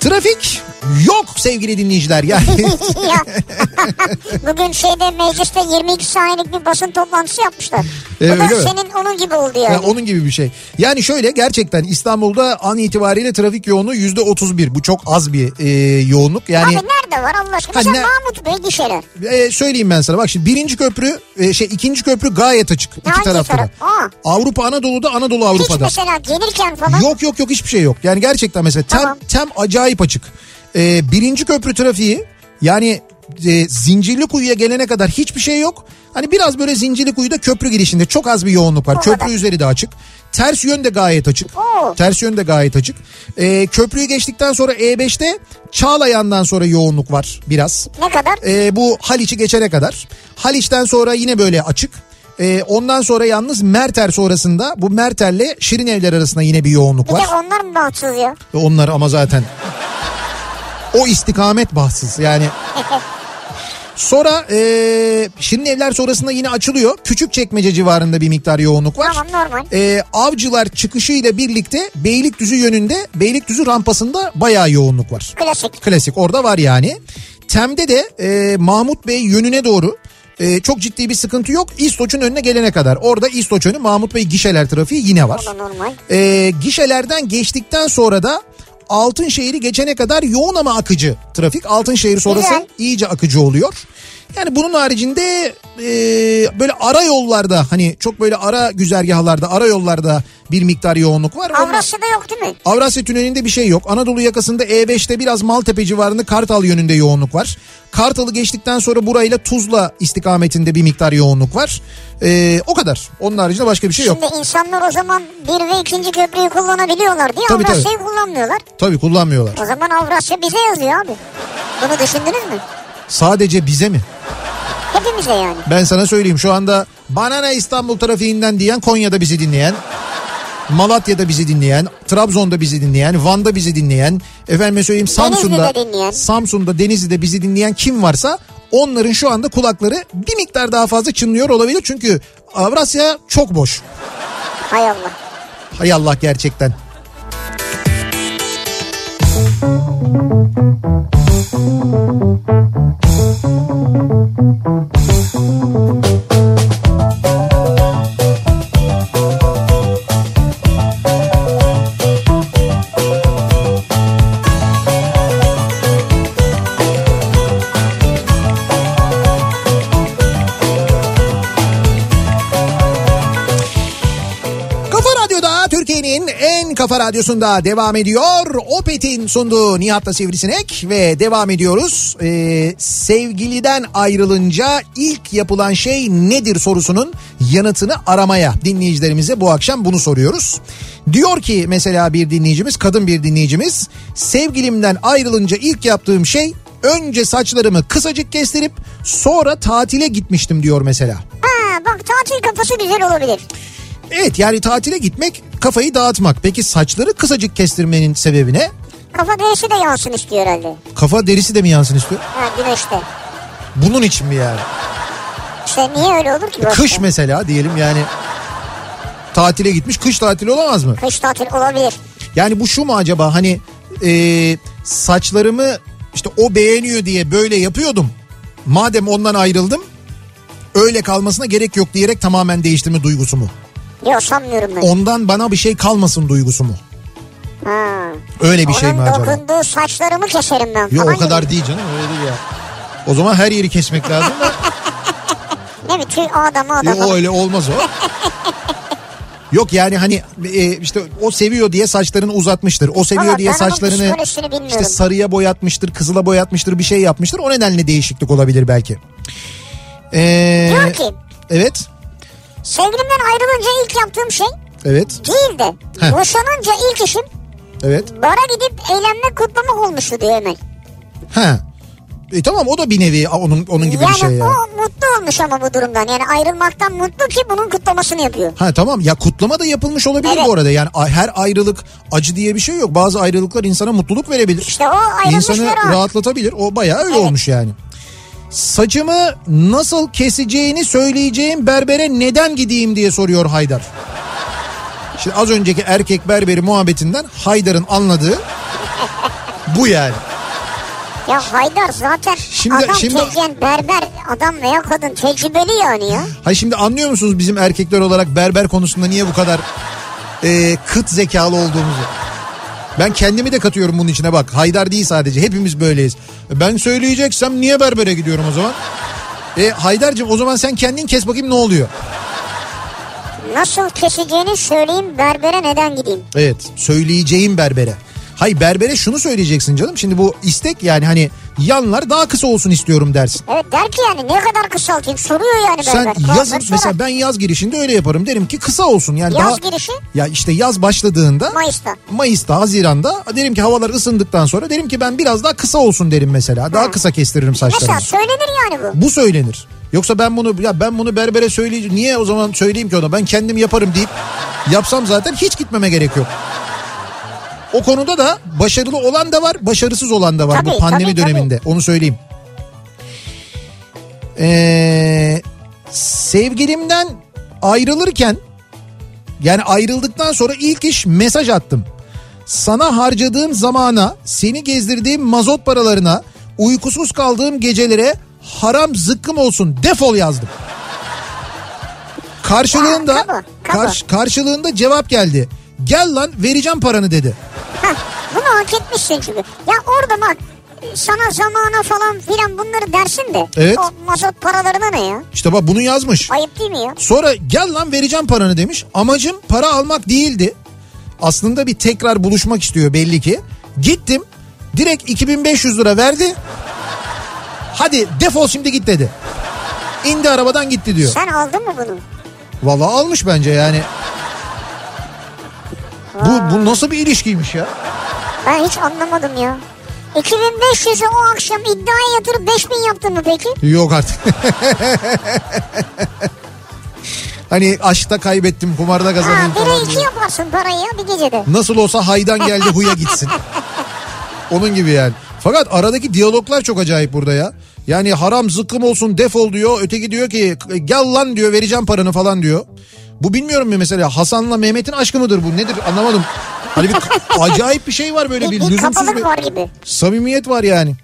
Trafik yok sevgili dinleyiciler. Yani
Ya, [LAUGHS] Bugün şeyde mecliste 22 saniyelik bir basın toplantısı yapmışlar.
Ee,
Bu da
öyle mi?
senin onun gibi oldu yani.
Ha, onun gibi bir şey. Yani şöyle gerçekten İstanbul'da an itibariyle trafik yoğunluğu yüzde 31. Bu çok az bir e, yoğunluk. Yani
Abi nerede var Allah aşkına?
Ha,
Mesela
ne-
Mahmut Bey gişeler.
e, söyleyeyim ben sana. Bak şimdi birinci köprü e, şey ikinci köprü gayet açık. iki
Hangi
tarafta da.
taraf? Aa.
Avrupa Anadolu'da Anadolu
Hiç
Avrupa'da.
mesela gelirken falan.
Yok yok yok hiçbir şey yok. Yani gerçekten mesela tem,
Tamam.
tem acayip açık. Ee, birinci köprü trafiği yani e, zincirli kuyuya gelene kadar hiçbir şey yok. Hani biraz böyle zincirli kuyuda köprü girişinde çok az bir yoğunluk var.
O
köprü
kadar.
üzeri de açık. Ters yön de gayet açık.
Oo.
Ters yön de gayet açık. Ee, köprüyü geçtikten sonra E5'te Çağlayan'dan sonra yoğunluk var biraz.
Ne kadar?
Ee, bu Haliç'i geçene kadar. Haliç'ten sonra yine böyle açık. Ee, ondan sonra yalnız Merter sonrasında bu Merter'le Şirin Evler arasında yine bir yoğunluk
Bir [LAUGHS]
var.
de onlar mı bağımsız ya?
Ve onlar ama zaten o istikamet bahsız yani. Sonra ee, Şirin Evler sonrasında yine açılıyor. Küçük çekmece civarında bir miktar yoğunluk var.
Tamam, normal.
Ee, avcılar çıkışıyla birlikte Beylikdüzü yönünde Beylikdüzü rampasında bayağı yoğunluk var.
Klasik.
Klasik orada var yani. Tem'de de e, Mahmut Bey yönüne doğru e, çok ciddi bir sıkıntı yok. İstoç'un önüne gelene kadar. Orada İstoç önü Mahmut Bey gişeler trafiği yine var.
O da normal.
E, gişelerden geçtikten sonra da Altınşehir'i geçene kadar yoğun ama akıcı trafik. Altınşehir sonrası
Güzel.
iyice akıcı oluyor. Yani bunun haricinde e, böyle ara yollarda hani çok böyle ara güzergahlarda ara yollarda bir miktar yoğunluk var. Onlar-
Avrasya'da yok değil mi?
Avrasya Tüneli'nde bir şey yok. Anadolu yakasında E5'te biraz Maltepe civarında Kartal yönünde yoğunluk var. Kartal'ı geçtikten sonra burayla Tuzla istikametinde bir miktar yoğunluk var. Ee, o kadar. Onun haricinde başka bir şey yok.
Şimdi insanlar o zaman bir ve ikinci köprüyü kullanabiliyorlar diye
Tabii,
Avrasya'yı kullanmıyorlar.
Tabii kullanmıyorlar.
O zaman Avrasya bize yazıyor abi. Bunu düşündünüz mü?
Sadece bize mi?
Hepimize yani.
Ben sana söyleyeyim şu anda bana ne İstanbul trafiğinden diyen Konya'da bizi dinleyen Malatya'da bizi dinleyen, Trabzon'da bizi dinleyen, Van'da bizi dinleyen, efendim söyleyeyim Samsun'da,
dinleyen.
Samsun'da, Denizli'de bizi dinleyen kim varsa onların şu anda kulakları bir miktar daha fazla çınlıyor olabilir. Çünkü Avrasya çok boş.
Hay Allah.
Hay Allah gerçekten. Kafa Radyo'da Türkiye'nin en kafa radyosunda devam ediyor. Opet'in sunduğu Nihat'la Sivrisinek ve devam ediyoruz. Ee, sevgiliden ayrılınca ilk yapılan şey nedir sorusunun yanıtını aramaya dinleyicilerimize bu akşam bunu soruyoruz. Diyor ki mesela bir dinleyicimiz, kadın bir dinleyicimiz sevgilimden ayrılınca ilk yaptığım şey önce saçlarımı kısacık kestirip sonra tatile gitmiştim diyor mesela.
Ha bak tatil kafası güzel olabilir.
Evet yani tatile gitmek kafayı dağıtmak. Peki saçları kısacık kestirmenin sebebi ne?
Kafa güneşi de yansın istiyor herhalde.
Kafa derisi de mi yansın istiyor?
Ha güneşte.
Bunun için mi yani?
İşte niye öyle olur ki?
Kış
burası?
mesela diyelim yani tatile gitmiş kış tatili olamaz mı?
Kış tatil olabilir.
Yani bu şu mu acaba hani e, saçlarımı işte o beğeniyor diye böyle yapıyordum. Madem ondan ayrıldım öyle kalmasına gerek yok diyerek tamamen değiştirme duygusu mu?
Yok sanmıyorum ben.
Ondan bana bir şey kalmasın duygusu mu?
Ha.
Öyle bir şey mi
Onun
acaba?
dokunduğu saçlarımı keserim ben
Yok
falan
o kadar
gibi.
değil canım öyle değil ya. O zaman her yeri kesmek lazım
[LAUGHS]
da
Ne mi tüy adamı adamı.
yok, öyle olmaz E, o. Yok yani hani e, işte o seviyor diye saçlarını uzatmıştır. O seviyor
Valla
diye
ben onun
saçlarını
psikolojisini bilmiyorum.
işte sarıya boyatmıştır, kızıla boyatmıştır, bir şey yapmıştır. O nedenle değişiklik olabilir belki. Ee,
Diyor ki
Evet.
sevgilimden ayrılınca ilk yaptığım şey
Evet.
değil de
Heh.
boşanınca ilk işim
Evet.
bara gidip eğlenme kutlamak olmuştu diyor Emel.
Ha. E tamam o da bir nevi onun onun gibi
yani
bir şey ya.
o mutlu olmuş ama bu durumdan. Yani ayrılmaktan mutlu ki bunun kutlamasını yapıyor.
Ha tamam ya kutlama da yapılmış olabilir
Evet.
bu arada. Yani a- her ayrılık acı diye bir şey yok. Bazı ayrılıklar insana mutluluk verebilir.
İşte o ayrılmışlar
İnsanı
rahat.
rahatlatabilir. O bayağı öyle
Evet.
olmuş yani. Saçımı nasıl keseceğini söyleyeceğim berbere neden gideyim diye soruyor Haydar. Şimdi az önceki erkek berberi muhabbetinden Haydar'ın anladığı bu yani.
Ya Haydar zaten
Şimdi-
adam
şimdi-
tecrüben berber adam veya kadın tecrübeli yani ya.
Hayır şimdi anlıyor musunuz bizim erkekler olarak berber konusunda niye bu kadar e, kıt zekalı olduğumuzu? Ben kendimi de katıyorum bunun içine bak. Haydar değil sadece hepimiz böyleyiz. Ben söyleyeceksem niye berbere gidiyorum o zaman? E, Haydar'cığım o zaman sen kendin kes bakayım ne oluyor?
Nasıl keseceğini söyleyeyim berbere neden gideyim.
Evet söyleyeceğim berbere. Hay berbere şunu söyleyeceksin canım. Şimdi bu istek yani hani yanlar daha kısa olsun istiyorum dersin.
Evet der ki yani ne kadar kısaltayım soruyor yani berber.
Sen
Kuaför
yazın
sorar.
mesela ben yaz girişinde öyle yaparım derim ki kısa olsun yani
Yaz
daha
girişi?
ya işte yaz başladığında
Mayıs'ta.
Mayıs'ta Haziran'da derim ki havalar ısındıktan sonra derim ki ben biraz daha kısa olsun derim mesela daha kısa kestiririm saçlarımı.
Mesela söylenir yani bu.
Bu söylenir. Yoksa ben bunu ya ben bunu berbere söyleyeceğim. Niye o zaman söyleyeyim ki ona? Ben kendim yaparım deyip yapsam zaten hiç gitmeme gerek yok. O konuda da başarılı olan da var, başarısız olan da var
Tabii,
bu pandemi
tabii, tabii.
döneminde. Onu söyleyeyim. Ee, sevgilimden ayrılırken yani ayrıldıktan sonra ilk iş mesaj attım. Sana harcadığım zamana, seni gezdirdiğim mazot paralarına, uykusuz kaldığım gecelere haram zıkkım olsun defol yazdım. Karşılığında
Ya, kabul, kabul.
karş- karşılığında cevap geldi. Gel lan vereceğim paranı dedi.
Heh, bunu hak etmişsin çünkü. Ya orada bak sana zamana falan filan bunları dersin de.
Evet.
O mazot paralarına ne ya?
İşte bak bunu yazmış.
Ayıp değil mi ya?
Sonra gel lan vereceğim paranı demiş. Amacım para almak değildi. Aslında bir tekrar buluşmak istiyor belli ki. Gittim. Direkt 2500 lira verdi. Hadi defol şimdi git dedi. İndi arabadan gitti diyor.
Sen aldın mı bunu?
Vallahi almış bence yani. Bu, bu nasıl bir ilişkiymiş ya?
Ben hiç anlamadım ya. 2500'ü o akşam iddiaya yatırıp 5000 yaptın mı peki?
Yok artık. [LAUGHS] hani aşkta kaybettim, kumarda
Ha,
kazandım falan.
bire iki
diyor.
yaparsın parayı ya bir gecede.
Nasıl olsa haydan geldi huya gitsin. Onun gibi yani. Fakat aradaki diyaloglar çok acayip burada ya. Yani haram zıkkım olsun defol diyor. Öteki diyor ki gel lan diyor vereceğim paranı falan diyor. Bu bilmiyorum ya mesela Hasan'la Mehmet'in aşkı mıdır bu nedir anlamadım. Hani bir [LAUGHS] acayip bir şey var böyle bir
Bir, bir
lüzumsuz bir
kapalık var gibi.
samimiyet var yani.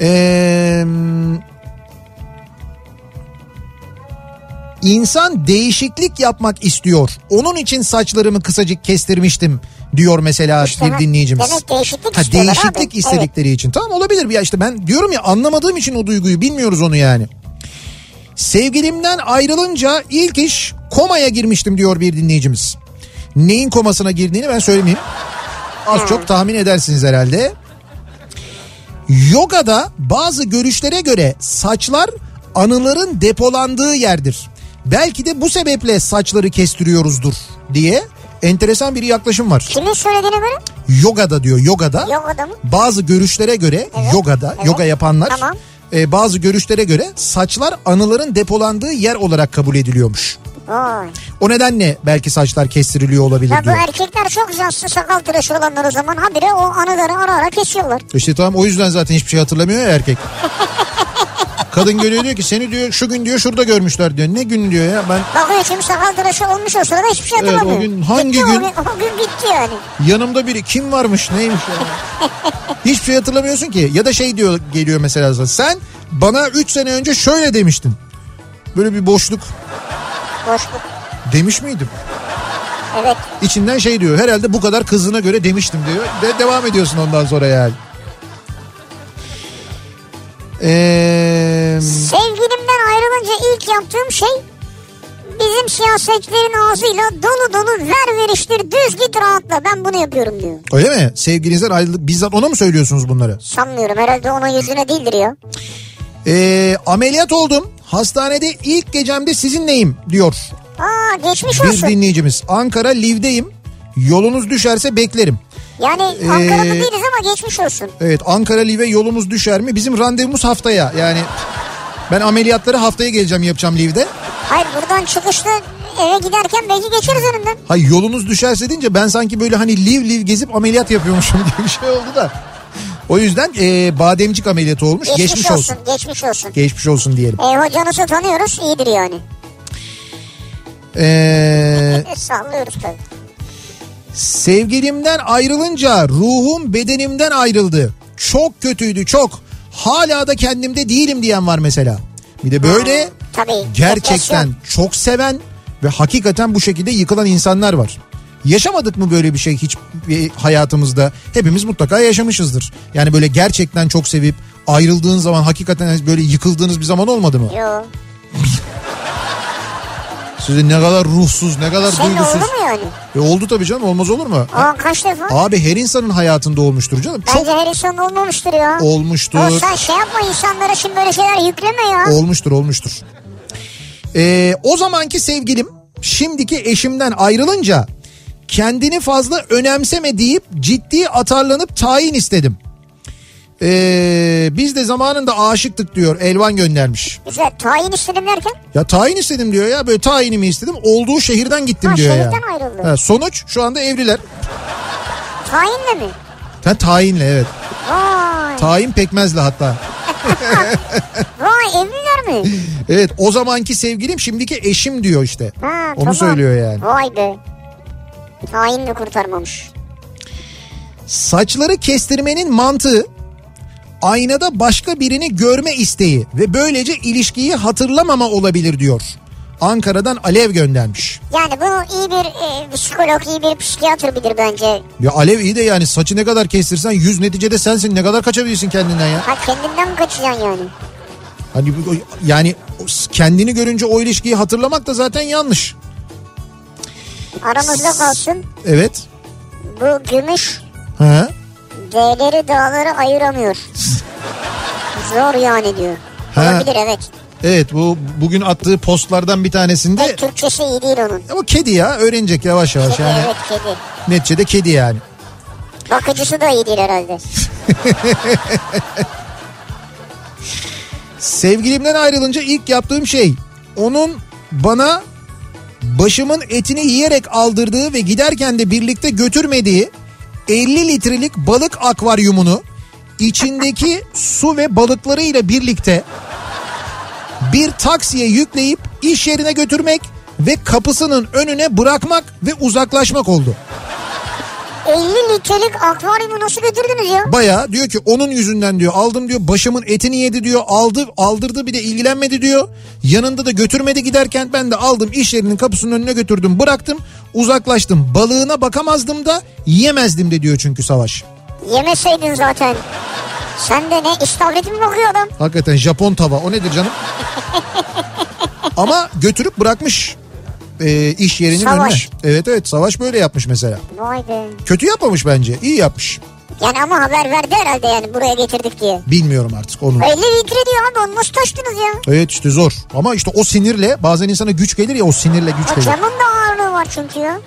Ee, insan değişiklik yapmak istiyor. Onun için saçlarımı kısacık kestirmiştim diyor mesela bir
ha,
dinleyicimiz.
demek değişiklik
ha,
istiyorlar
değişiklik
abi.
istedikleri için. Tamam olabilir ya işte ben diyorum ya anlamadığım için o duyguyu bilmiyoruz onu yani. Sevgilimden ayrılınca ilk iş komaya girmiştim diyor bir dinleyicimiz. Neyin komasına girdiğini ben söylemeyeyim. Az çok tahmin edersiniz herhalde. Yoga'da bazı görüşlere göre saçlar anıların depolandığı yerdir. Belki de bu sebeple saçları kestiriyoruzdur diye enteresan bir yaklaşım var.
Kimin söylediğine göre?
Yoga'da diyor yoga'da.
Yok adamın.
Bazı görüşlere göre yoga'da,
evet.
yoga yapanlar
Tamam.
e, bazı görüşlere göre saçlar anıların depolandığı yer olarak kabul ediliyormuş.
Vay.
O nedenle belki saçlar kestiriliyor olabilir
Ya bu
diyor.
erkekler çok şanslı sakal tıraşı olanlar o zaman habire o anıları ara ara kesiyorlar.
İşte tamam o yüzden zaten hiçbir şey hatırlamıyor ya
[LAUGHS]
erkek. Kadın geliyor diyor ki seni diyor şu gün diyor şurada görmüşler diyor. Ne gün diyor ya ben
Bakıyor şimdi sakal tıraşı olmuş o sırada hiçbir şey
Evet, o
hatırlamıyor.
gün hangi
Gitti
gün?
o O gün gitti yani.
yanımda biri kim varmış neymiş
[LAUGHS]
ya. Hiçbir şey hatırlamıyorsun ki. Ya da şey diyor geliyor mesela sen bana 3 sene önce şöyle demiştin. Böyle bir boşluk
Boşluk.
demiş miydim?
Evet.
İçinden şey diyor herhalde bu kadar kızına göre demiştim diyor. De devam ediyorsun ondan sonra yani. Eee...
Sevgilimden ayrılınca ilk yaptığım şey bizim siyasetçilerin ağzıyla dolu dolu ver veriştir düz git rahatla ben bunu yapıyorum diyor.
Öyle mi? Sevgilinizden ayrıldık. Bizzat ona mı söylüyorsunuz bunları?
Sanmıyorum herhalde onun yüzüne değildir ya.
Ee, ameliyat oldum. Hastanede ilk gecemde sizinleyim diyor
Aa geçmiş
bir
olsun.
dinleyicimiz. Ankara Liv'deyim. Yolunuz düşerse beklerim.
Yani Ankara'da
Ee,
değiliz ama geçmiş olsun.
Evet Ankara Liv'e yolumuz düşer mi? Bizim randevumuz haftaya. Yani ben ameliyatları haftaya geleceğim yapacağım Liv'de.
Hayır buradan çıkışta eve giderken belki geçeriz önünden.
Hay yolunuz düşerse deyince ben sanki böyle hani liv liv gezip ameliyat yapıyormuşum [LAUGHS] gibi bir şey oldu da. O yüzden ee, bademcik ameliyatı olmuş. Geçmiş, olsun.
Geçmiş olsun.
Geçmiş olsun diyelim.
E, hocanızı tanıyoruz iyidir yani.
Eee...
E, sallıyoruz tabii.
Sevgilimden ayrılınca ruhum bedenimden ayrıldı. Çok kötüydü çok. Hala da kendimde değilim diyen var mesela. Bir de böyle
Tabii.
gerçekten çok seven ve hakikaten bu şekilde yıkılan insanlar var. Yaşamadık mı böyle bir şey hiç bir hayatımızda? Hepimiz mutlaka yaşamışızdır. Yani böyle gerçekten çok sevip ayrıldığın zaman hakikaten böyle yıkıldığınız bir zaman olmadı mı?
Yok.
Sizin ne kadar ruhsuz, ne kadar
Senin oldu
duygusuz.
Şey mu yani?
E oldu tabii canım olmaz olur mu?
Aa kaç defa?
Abi her insanın hayatında olmuştur canım. Çok
Bence her insan olmamıştır ya. O
olmuştur.
sen şey yapma insanlara şimdi böyle şeyler yükleme ya.
Olmuştur olmuştur. Ee, o zamanki sevgilim şimdiki eşimden ayrılınca kendini fazla önemseme deyip ciddi atarlanıp tayin istedim. Ee, biz de zamanında aşıktık diyor Elvan göndermiş.
Güzel tayin istedim derken
Ya tayin istedim diyor ya böyle tayinimi istedim olduğu şehirden gittim
Ha,
diyor ya.
şehirden ayrıldı.
Ha, sonuç şu anda evliler.
tayinle mi?
Ha, tayinle evet.
Vay.
Tayin pekmezle hatta. [LAUGHS]
Vay evliler mi?
Evet o zamanki sevgilim şimdiki eşim diyor işte.
Ha,
Onu
tamam.
söylüyor yani.
Vay be. Tayin de kurtarmamış.
Saçları kestirmenin mantığı aynada başka birini görme isteği ve böylece ilişkiyi hatırlamama olabilir diyor. Ankara'dan Alev göndermiş.
Yani bunu iyi bir e, psikolog, iyi bir psikiyatr bilir bence.
Ya Alev iyi de yani saçı ne kadar kestirsen yüz neticede sensin ne kadar kaçabilirsin kendinden ya.
Ha kendinden mi kaçacaksın yani?
Hani bu- yani kendini görünce o ilişkiyi hatırlamak da zaten yanlış.
Aramızda kalsın
Evet.
bu gümüş
Ha?
D'leri dağları ayıramıyor. Zor yani diyor.
Ha.
Olabilir evet.
Evet bu bugün attığı postlardan bir tanesinde
Tek Türkçesi iyi değil onun.
ama kedi ya öğrenecek yavaş yavaş
Kedi
yani
evet kedi.
neticede kedi yani.
Bakıcısı da iyi değil herhalde.
Sevgilimden ayrılınca ilk yaptığım şey onun bana başımın etini yiyerek aldırdığı ve giderken de birlikte götürmediği 50 litrelik balık akvaryumunu içindeki su ve balıklarıyla birlikte bir taksiye yükleyip iş yerine götürmek ve kapısının önüne bırakmak ve uzaklaşmak oldu.
50 litrelik akvaryumu nasıl götürdünüz ya?
Baya diyor ki onun yüzünden diyor aldım diyor başımın etini yedi diyor aldı aldırdı bir de ilgilenmedi diyor. Yanında da götürmedi giderken ben de aldım iş yerinin kapısının önüne götürdüm bıraktım uzaklaştım. Balığına bakamazdım da yiyemezdim de diyor çünkü Savaş.
Yemeseydin zaten. Sen de ne istavriti mi bakıyor adam?
Hakikaten Japon tava o nedir canım? Ama götürüp bırakmış e, iş yerinin
Savaş.
önüne. Evet evet Savaş böyle yapmış mesela.
Vay be.
Kötü yapmamış bence iyi yapmış.
Yani ama haber verdi herhalde yani buraya getirdik diye.
Bilmiyorum artık onu.
50 litre diyor abi onu nasıl taştınız ya?
Evet işte zor. Ama işte o sinirle bazen insana güç gelir ya o sinirle güç
Ya
gelir.
camın da ağırlığı var çünkü ya.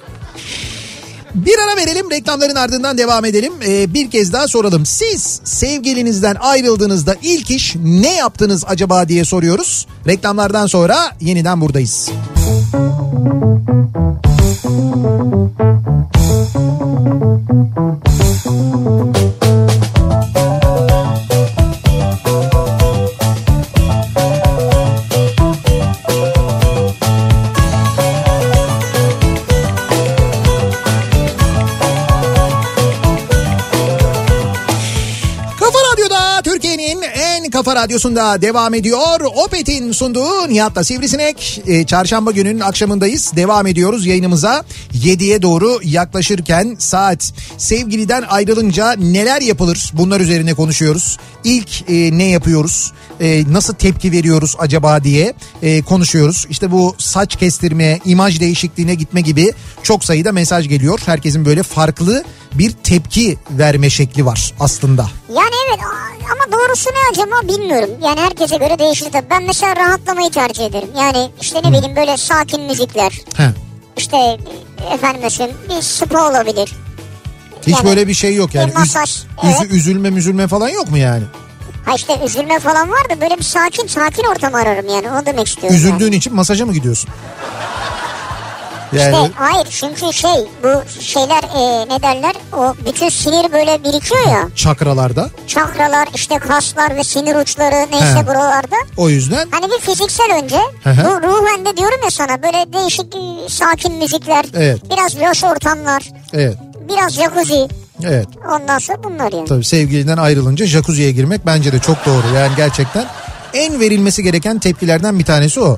Bir ara verelim reklamların ardından devam edelim. Ee, bir kez daha soralım. Siz sevgilinizden ayrıldığınızda ilk iş ne yaptınız acaba diye soruyoruz. Reklamlardan sonra yeniden buradayız. Kafa Radyo'da Türkiye'nin en kafa radyosunda devam ediyor. Opet'in sunduğu Nihat'la Sivrisinek. Ee, çarşamba gününün akşamındayız. Devam ediyoruz yayınımıza. 7'ye doğru yaklaşırken saat. Sevgiliden ayrılınca neler yapılır? Bunlar üzerine konuşuyoruz. İlk e, ne yapıyoruz? E, nasıl tepki veriyoruz acaba diye e, konuşuyoruz. İşte bu saç kestirme, imaj değişikliğine gitme gibi çok sayıda mesaj geliyor. Herkesin böyle farklı bir tepki verme şekli var aslında.
Yani evet a- ama doğrusu ne acaba bilmiyorum. Yani herkese göre değişir tabii. Ben mesela rahatlamayı tercih ederim. Yani işte ne bileyim böyle sakin müzikler.
He.
İşte e, efendim söyleyeyim bir spa olabilir.
Hiç
Yani
böyle bir şey yok yani.
bir masaj,
üzü-
evet.
üzülme müzülme falan yok mu yani?
Ha işte üzülme falan var da böyle bir sakin sakin ortam ararım yani. Onu demek istiyorum. yani.
Üzüldüğün için masaja mı gidiyorsun? Yani
İşte hayır çünkü şey bu şeyler e, ne derler o bütün sinir böyle birikiyor ya
çakralarda.
çakralar işte kaslar ve sinir uçları neyse
He.
buralarda
O yüzden
hani bir fiziksel önce
Hı hı.
bu ruhen de diyorum ya sana böyle değişik e, sakin müzikler
Evet.
biraz loş ortamlar
evet.
biraz jacuzzi
Evet.
Ondan sonra bunlar yani.
Tabii sevgilinden ayrılınca jacuzziye girmek bence de çok doğru. Yani gerçekten en verilmesi gereken tepkilerden bir tanesi o.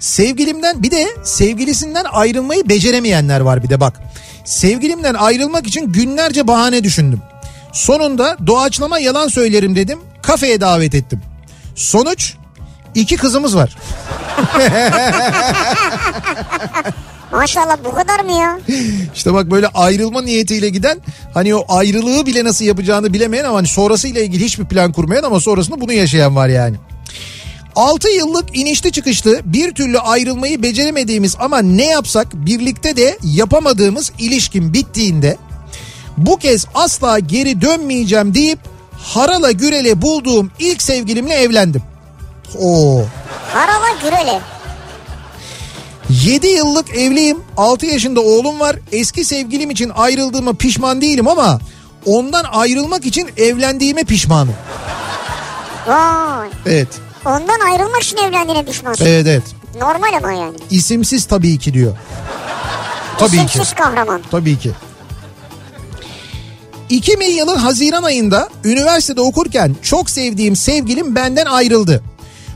Sevgilimden bir de sevgilisinden ayrılmayı beceremeyenler var bir de bak. Sevgilimden ayrılmak için günlerce bahane düşündüm. Sonunda doğaçlama yalan söylerim dedim. Kafeye davet ettim. Sonuç iki kızımız var.
Maşallah bu kadar mı ya?
İşte bak böyle ayrılma niyetiyle giden hani o ayrılığı bile nasıl yapacağını bilemeyen ama hani sonrasıyla ilgili hiçbir plan kurmayan ama sonrasında bunu yaşayan var yani. 6 yıllık inişli çıkışlı bir türlü ayrılmayı beceremediğimiz ama ne yapsak birlikte de yapamadığımız ilişkin bittiğinde bu kez asla geri dönmeyeceğim deyip harala gürele bulduğum ilk sevgilimle evlendim. Oo.
Harala gürele.
7 yıllık evliyim. 6 yaşında oğlum var. Eski sevgilim için ayrıldığıma pişman değilim ama ondan ayrılmak için evlendiğime pişmanım.
Vay.
Evet.
Ondan ayrılmak için evlendiğine pişmansın.
Evet evet.
Normal ama yani.
İsimsiz tabii ki diyor. Tabii [LAUGHS] ki.
İsimsiz kahraman.
Tabii ki. 2000 yılın Haziran ayında üniversitede okurken çok sevdiğim sevgilim benden ayrıldı.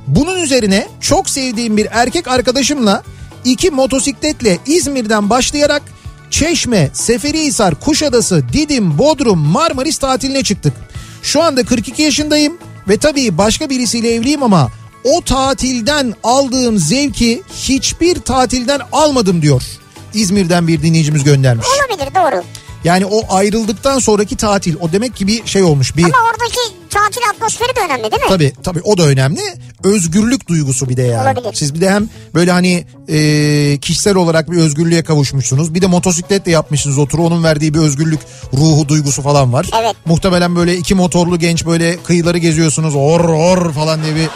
Bunun üzerine çok sevdiğim bir erkek arkadaşımla iki motosikletle İzmir'den başlayarak Çeşme, Seferihisar, Kuşadası, Didim, Bodrum, Marmaris tatiline çıktık. Şu anda 42 yaşındayım ve tabii başka birisiyle evliyim ama o tatilden aldığım zevki hiçbir tatilden almadım diyor. İzmir'den bir dinleyicimiz göndermiş.
Olabilir doğru.
Yani o ayrıldıktan sonraki tatil o demek ki bir şey olmuş bir
Ama oradaki tatil atmosferi de önemli değil mi?
tabi tabi o da önemli özgürlük duygusu bir de yani
Olabilir.
siz bir de hem böyle hani e, kişisel olarak bir özgürlüğe kavuşmuşsunuz bir de motosikletle yapmışsınız o turu onun verdiği bir özgürlük ruhu duygusu falan var
Evet.
muhtemelen böyle iki motorlu genç böyle kıyıları geziyorsunuz or or falan diye bir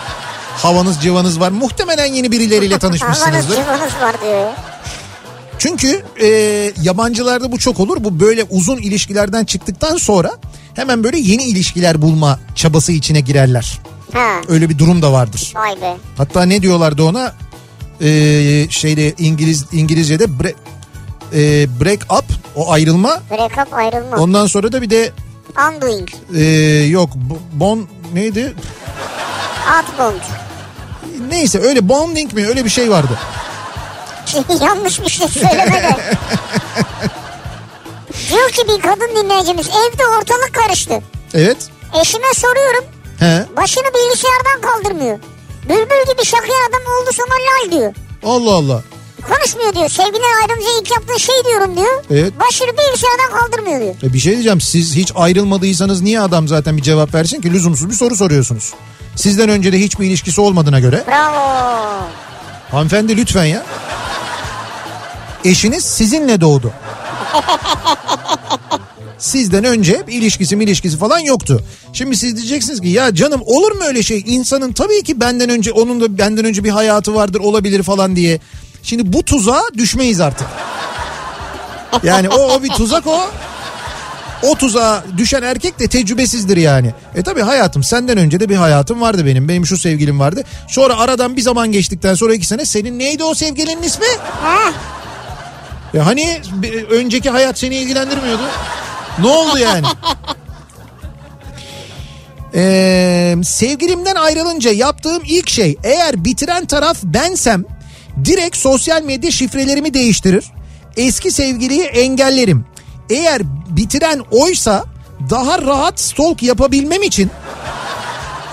havanız civanız var muhtemelen yeni
[LAUGHS]
birileriyle
Havanız
tanışmışsınızdır
civanız var diyor. ya.
Çünkü e, yabancılarda bu çok olur. Bu böyle uzun ilişkilerden çıktıktan sonra hemen böyle yeni ilişkiler bulma çabası içine girerler.
Ha.
Öyle bir durum da vardır.
Vay be.
Hatta ne diyorlardı ona? E, şeyde İngiliz İngilizce'de bre- e, break up o ayrılma.
Break up ayrılma.
Ondan sonra da bir de
Undoing.
e, yok b- bon neydi?
Outbound.
Neyse öyle bonding mi öyle bir şey vardı.
Yanlış bir şey söyleme de. Diyor ki bir kadın dinleyicimiz evde ortalık karıştı.
Evet.
Eşime soruyorum
He.
başını bilgisayardan kaldırmıyor. Bülbül gibi şakayan adam oldu sana lal diyor.
Allah Allah.
Konuşmuyor diyor. Sevgiliden ayrılınca ilk yaptığı şey diyorum diyor.
Evet.
Başını bilgisayardan kaldırmıyor diyor.
E bir şey diyeceğim siz hiç ayrılmadıysanız niye adam zaten bir cevap versin ki lüzumsuz bir soru soruyorsunuz. Sizden önce de hiçbir ilişkisi olmadığına göre
Bravo.
hanımefendi lütfen ya. Eşiniz sizinle doğdu. Sizden önce bir ilişkisi mi ilişkisi falan yoktu. Şimdi siz diyeceksiniz ki ya canım olur mu öyle şey? İnsanın tabii ki benden önce onun da benden önce bir hayatı vardır olabilir falan diye. Şimdi bu tuzağa düşmeyiz artık. Yani o, o bir tuzak o. O tuzağa düşen erkek de tecrübesizdir yani. E tabi hayatım senden önce de bir hayatım vardı benim. Benim şu sevgilim vardı. Sonra aradan bir zaman geçtikten sonra iki sene senin neydi o sevgilinin ismi?
Ha,
Ya hani bir- önceki hayat seni ilgilendirmiyordu. Ne oldu yani? Ee, sevgilimden ayrılınca yaptığım ilk şey eğer bitiren taraf bensem direkt sosyal medya şifrelerimi değiştirir. Eski sevgiliyi engellerim. Eğer bitiren oysa daha rahat stalk yapabilmem için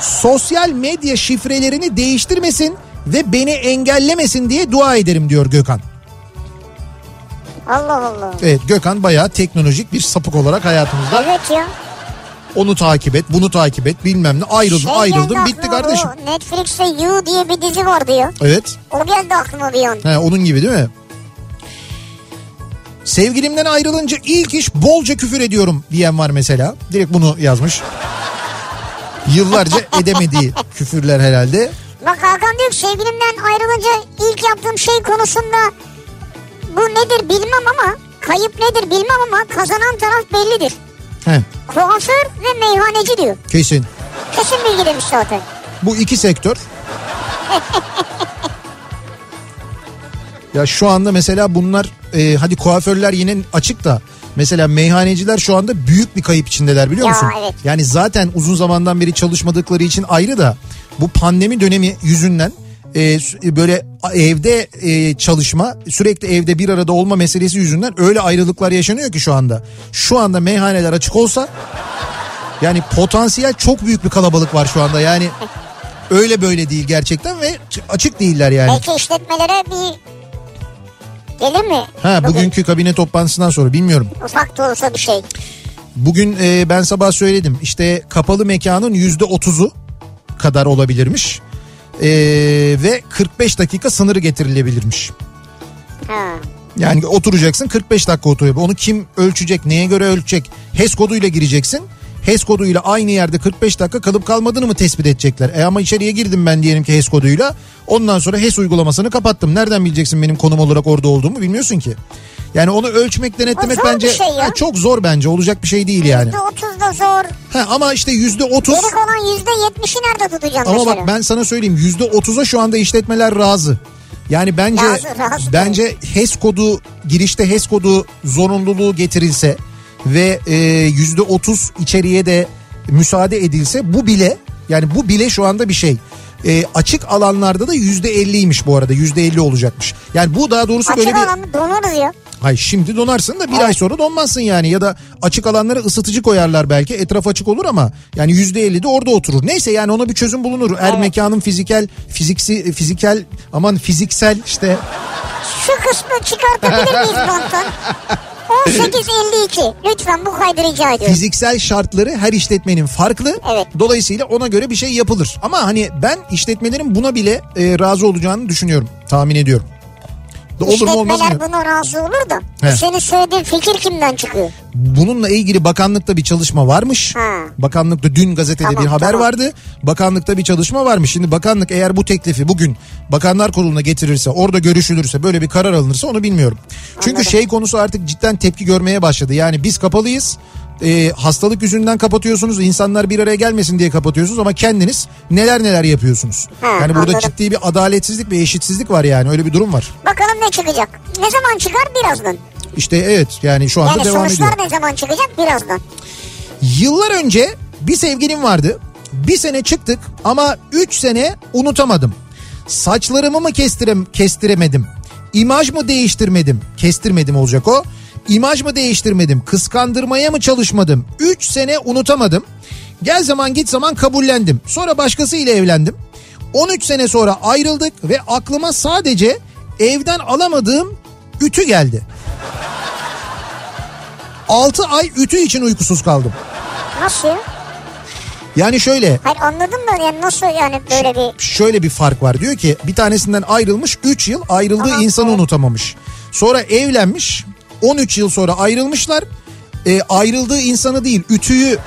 sosyal medya şifrelerini değiştirmesin ve beni engellemesin diye dua ederim diyor Gökhan.
Allah Allah.
Evet Gökhan bayağı teknolojik bir sapık olarak hayatımızda
Evet ya.
onu takip et bunu takip et bilmem ne ayrıldım
Şey geldi
ayrıldım
aklıma,
bitti kardeşim.
bu Netflix'te You diye bir dizi vardı ya.
Evet
O geldi aklıma bir an.
he, onun gibi değil mi? Sevgilimden ayrılınca ilk iş bolca küfür ediyorum diyen var mesela. Direkt bunu yazmış. Yıllarca edemediği küfürler herhalde.
Bak Hakan diyor ki sevgilimden ayrılınca ilk yaptığım şey konusunda bu nedir bilmem ama kayıp nedir bilmem ama kazanan taraf bellidir.
He,
Kuaför ve meyhaneci diyor.
kesin.
Kesin bilgi demiş zaten.
Bu iki sektör. ya şu anda mesela bunlar e, hadi kuaförler yine açık da Mesela meyhaneciler şu anda büyük bir kayıp içindeler biliyor
Ya,
musun?
evet.
Yani zaten uzun zamandan beri çalışmadıkları için ayrı da bu pandemi dönemi yüzünden e, sü- e, böyle a- evde e, çalışma sürekli evde bir arada olma meselesi yüzünden öyle ayrılıklar yaşanıyor ki şu anda. Şu anda meyhaneler açık olsa yani potansiyel çok büyük bir kalabalık var şu anda yani öyle böyle değil gerçekten ve ç- açık değiller yani.
Belki işletmelere bir gelir mi?
Ha
Bugün
bugünkü kabine toplantısından sonra bilmiyorum.
Ufak da olsa bir şey.
Bugün e, ben sabah söyledim işte kapalı mekanın yüzde otuzu kadar olabilirmiş. E, ve 45 dakika sınırı getirilebilirmiş.
Ha.
Yani oturacaksın 45 dakika oturuyor. Onu kim ölçecek neye göre ölçecek HES koduyla gireceksin. HES koduyla aynı yerde 45 dakika kalıp kalmadığını mı tespit edecekler? E ama içeriye girdim ben diyelim ki HES koduyla. Ondan sonra HES uygulamasını kapattım. Nereden bileceksin benim konum olarak orada olduğumu bilmiyorsun ki. Yani onu ölçmek denetlemek
O zor bir
bence
şey ya.
Ha, çok zor bence olacak bir şey değil yani.
Yüzde otuz da zor.
Ha, ama işte yüzde otuz
Geri kalan yüzde yetmişi nerede tutacaksın
ama
mesela?
bak ben sana söyleyeyim yüzde otuza şu anda işletmeler razı. Yani bence
Razı, razı.
bence HES kodu girişte HES kodu zorunluluğu getirilse ve e, yüzde otuz içeriye de müsaade edilse bu bile yani bu bile şu anda bir şey. E, açık alanlarda da yüzde elliymiş bu arada yüzde elli olacakmış. Yani bu daha doğrusu
Açık
böyle bir
alanı donarız ya.
Hayır şimdi donarsın da bir ay sonra donmazsın yani ya da açık alanlara ısıtıcı koyarlar belki etraf açık olur ama yani yüzde elli de orada oturur. Neyse yani ona bir çözüm bulunur. Her mekanın fizikel, fiziksi, fizikel aman fiziksel işte
Şu kısmı çıkartabilir
[LAUGHS]
miyiz banttan? 18.52. Lütfen bu kaydı rica ediyorum.
fiziksel şartları her işletmenin farklı.
Evet.
Dolayısıyla ona göre bir şey yapılır. Ama hani ben işletmelerin buna bile e, razı olacağını düşünüyorum. Tahmin ediyorum. Da olur mu olmaz mı?
İşletmeler buna razı olur da.
He.
Senin söylediğin fikir kimden çıkıyor?
Bununla ilgili bakanlıkta bir çalışma varmış.
Ha.
Bakanlıkta dün gazetede
Tamam,
bir haber
tamam.
vardı. Bakanlıkta bir çalışma varmış. Şimdi bakanlık eğer bu teklifi bugün Bakanlar Kurulu'na getirirse, orada görüşülürse, böyle bir karar alınırsa onu bilmiyorum. Çünkü şey konusu artık cidden tepki görmeye başladı. Yani biz kapalıyız. e, hastalık yüzünden kapatıyorsunuz. insanlar bir araya gelmesin diye kapatıyorsunuz ama kendiniz neler neler yapıyorsunuz.
Ha,
yani burada
anladım.
ciddi bir adaletsizlik ve eşitsizlik var yani. Öyle bir durum var.
Bakalım ne çıkacak? Ne zaman çıkar? Birazdan.
İşte evet yani şu anda
Yani
devam ediyor.
sonuçlar ne zaman çıkacak? Birazdan.
Yıllar önce bir sevgilim vardı. Bir sene çıktık ama 3 sene unutamadım. Saçlarımı mı kestirem kestiremedim? İmaj mı değiştirmedim? Kestirmedim olacak o. İmaj mı değiştirmedim? Kıskandırmaya mı çalışmadım? 3 sene unutamadım. Gel zaman git zaman kabullendim. Sonra başkasıyla evlendim. 13 sene sonra ayrıldık ve aklıma sadece evden alamadığım ütü geldi. 6 ay ütü için uykusuz kaldım.
Nasıl? ya?
Yani şöyle
Hayır anladım da yani nasıl yani böyle bir...
şöyle bir fark var. Diyor ki bir tanesinden ayrılmış 3 yıl ayrıldığı
Aha,
insanı
evet.
unutamamış. Sonra evlenmiş 13 yıl sonra ayrılmışlar. E, ayrıldığı insanı değil ütüyü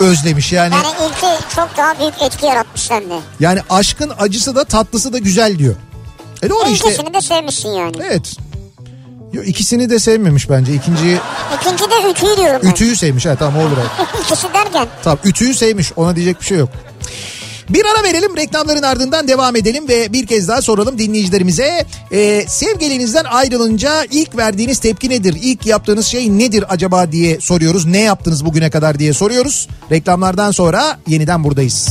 özlemiş yani.
Yani ilki çok daha büyük etki yaratmış sende.
Yani aşkın acısı da tatlısı da güzel diyor. E doğru işte.
İlkisini de sevmişsin yani.
Evet. Yo, ikisini de sevmemiş bence. İkinciyi
İkinci de ütüyü diyorum ben.
ütüyü sevmiş. Ha tamam o olur. abi.
İkisi derken
Tamam ütüyü sevmiş ona diyecek bir şey yok. Bir ara verelim reklamların ardından devam edelim ve bir kez daha soralım dinleyicilerimize. Ee, sevgilinizden ayrılınca ilk verdiğiniz tepki nedir? İlk yaptığınız şey nedir acaba diye soruyoruz. Ne yaptınız bugüne kadar diye soruyoruz. Reklamlardan sonra yeniden buradayız.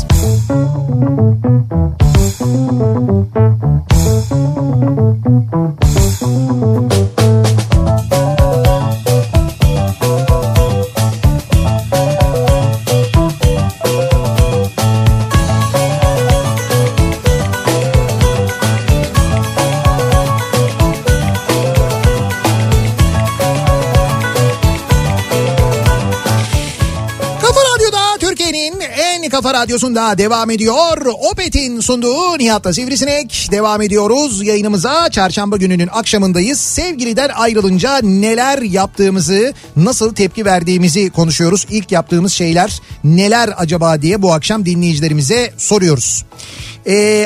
Kafa Radyo'da Türkiye'nin en kafa radyosunda devam ediyor. Opet'in sunduğu Nihat'la Sivrisinek devam ediyoruz. Yayınımıza çarşamba gününün akşamındayız. Sevgiliden ayrılınca neler yaptığımızı, nasıl tepki verdiğimizi konuşuyoruz. İlk yaptığımız şeyler neler acaba diye bu akşam dinleyicilerimize soruyoruz.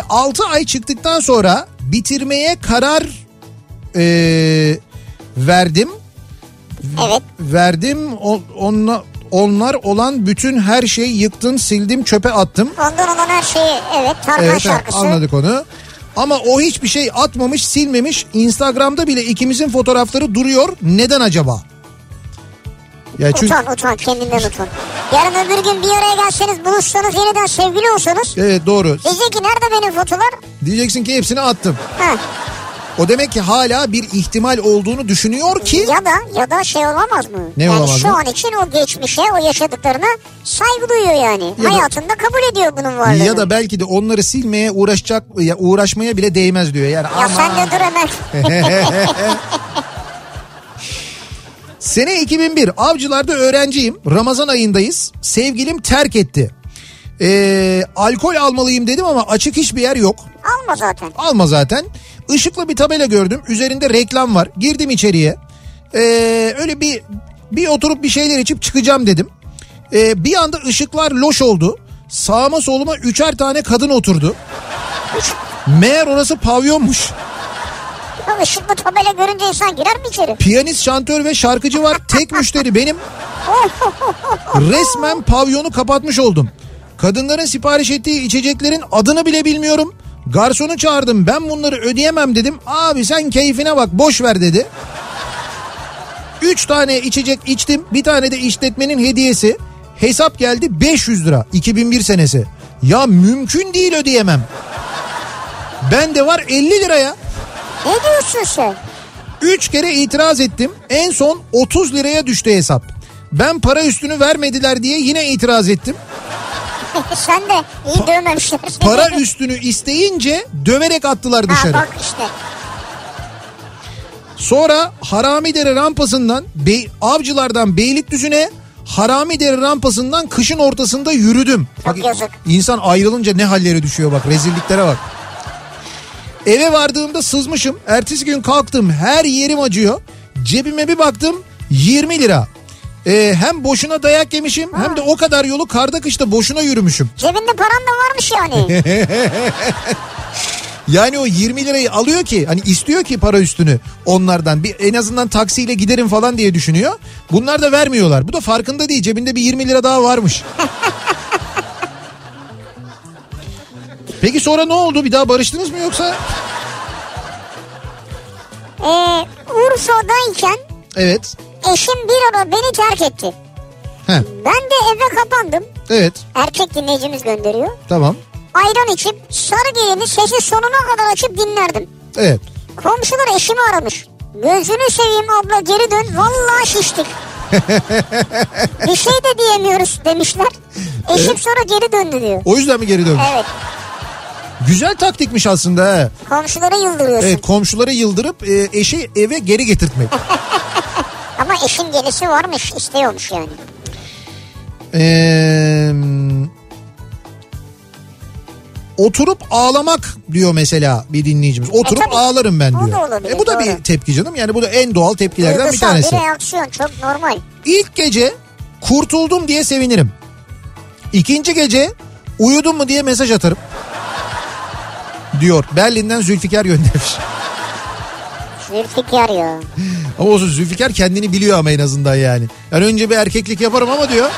6 ay çıktıktan sonra bitirmeye karar ee, verdim
evet
verdim o- onla, onlar olan bütün her şeyi yıktın sildim çöpe attım.
ondan olan her şeyi evet Tarkan
Evet ha,
şarkısı.
anladık onu. Ama o hiçbir şey atmamış silmemiş Instagram'da bile ikimizin fotoğrafları duruyor neden acaba? Ya E, çünkü-
Utan utan kendinden utan. Yarın öbür gün bir araya gelseniz buluşsanız yeniden sevgili olsanız.
Evet doğru.
Diyecek ki nerede benim fotolar?
Diyeceksin ki hepsini attım.
Ha.
O demek ki hala bir ihtimal olduğunu düşünüyor ki
Ya da ya da şey olamaz mı?
Ne
yani
olamaz
şu
mı?
an için o geçmişe o yaşadıklarına saygı duyuyor yani.
Ya da-
Hayatında kabul ediyor bunun varlığını.
ya da belki de onları silmeye uğraşacak ya uğraşmaya bile değmez diyor. Yani
Ya
aman.
sen de dur hemen.
Sene 2001 avcılarda öğrenciyim. Ramazan ayındayız. Sevgilim terk etti. Ee, alkol almalıyım dedim ama açık hiçbir yer yok.
Alma zaten.
Alma zaten. Işıklı bir tabela gördüm. Üzerinde reklam var. Girdim içeriye. Ee, öyle bir bir oturup bir şeyler içip çıkacağım dedim. Ee, bir anda ışıklar loş oldu. Sağıma soluma üçer tane kadın oturdu. Meğer orası pavyonmuş.
Ya ışıklı tabela görünce insan girer mi içeri? [LAUGHS]
Piyanist, şantör ve şarkıcı var. Tek müşteri benim. Resmen pavyonu kapatmış oldum. Kadınların sipariş ettiği içeceklerin adını bile bilmiyorum. Garsonu çağırdım ben bunları ödeyemem dedim. Abi sen keyfine bak boş ver dedi. Üç tane içecek içtim. Bir tane de işletmenin hediyesi. Hesap geldi 500 lira 2001 senesi. Ya mümkün değil ödeyemem. Bende var 50 liraya.
Ne diyorsun sen? [LAUGHS]
3 kere itiraz ettim. En son 30 liraya düştü hesap. Ben para üstünü vermediler diye yine itiraz ettim.
sen de iyi dövmemişler.
Para üstünü isteyince döverek attılar
Ha,
dışarı.
bak işte.
Sonra Haramidere rampasından Bey- avcılardan Beylikdüzü'ne Haramidere rampasından kışın ortasında yürüdüm.
Çok yazık.
İnsan ayrılınca ne hallere düşüyor bak rezilliklere bak. Eve vardığımda sızmışım. Ertesi gün kalktım her yerim acıyor. Cebime bir baktım 20 lira. Ee, hem boşuna dayak yemişim hem de o kadar yolu karda kışta boşuna yürümüşüm.
Cebinde paran da varmış
[LAUGHS]
yani.
Yani o 20 lirayı alıyor ki hani istiyor ki para üstünü onlardan bir en azından taksiyle giderim falan diye düşünüyor. Bunlar da vermiyorlar. Bu da farkında değil. Cebinde bir 20 lira daha varmış. Peki sonra ne oldu? Bir daha barıştınız mı yoksa?
ee, Urfa'dayken
Evet.
eşim bir ara beni terk etti.
He.
Ben de eve kapandım.
Evet.
Erkek dinleyicimiz gönderiyor.
Tamam.
Ayran içip sarı gelini sesi sonuna kadar açıp dinlerdim.
Evet.
Komşular eşimi aramış. Gözünü seveyim abla geri dön.
[LAUGHS]
Vallahi şiştik. bir şey de diyemiyoruz demişler. Eşim sonra geri döndü diyor.
O yüzden mi geri döndü?
Evet.
Güzel taktikmiş aslında. He.
Komşulara yıldırıyorsun.
Evet, komşuları yıldırıp e, eşi eve geri getirtmek.
Ama eşin gelisi varmış istiyormuş yani.
Ee, oturup ağlamak diyor mesela bir dinleyicimiz. Oturup
E, tabii.
ağlarım ben
O
diyor.
da olabilir,
e bu da
doğru.
bir tepki canım. Yani bu da en doğal tepkilerden bir
Duygusal
tanesi.
bir reaksiyon çok normal.
İlk gece kurtuldum diye sevinirim. İkinci gece uyudum mu diye mesaj atarım. diyor. Berlin'den Zülfikar göndermiş.
Zülfikar ya.
Ama olsun Zülfikar kendini biliyor ama en azından yani. Yani önce bir erkeklik yaparım ama diyor.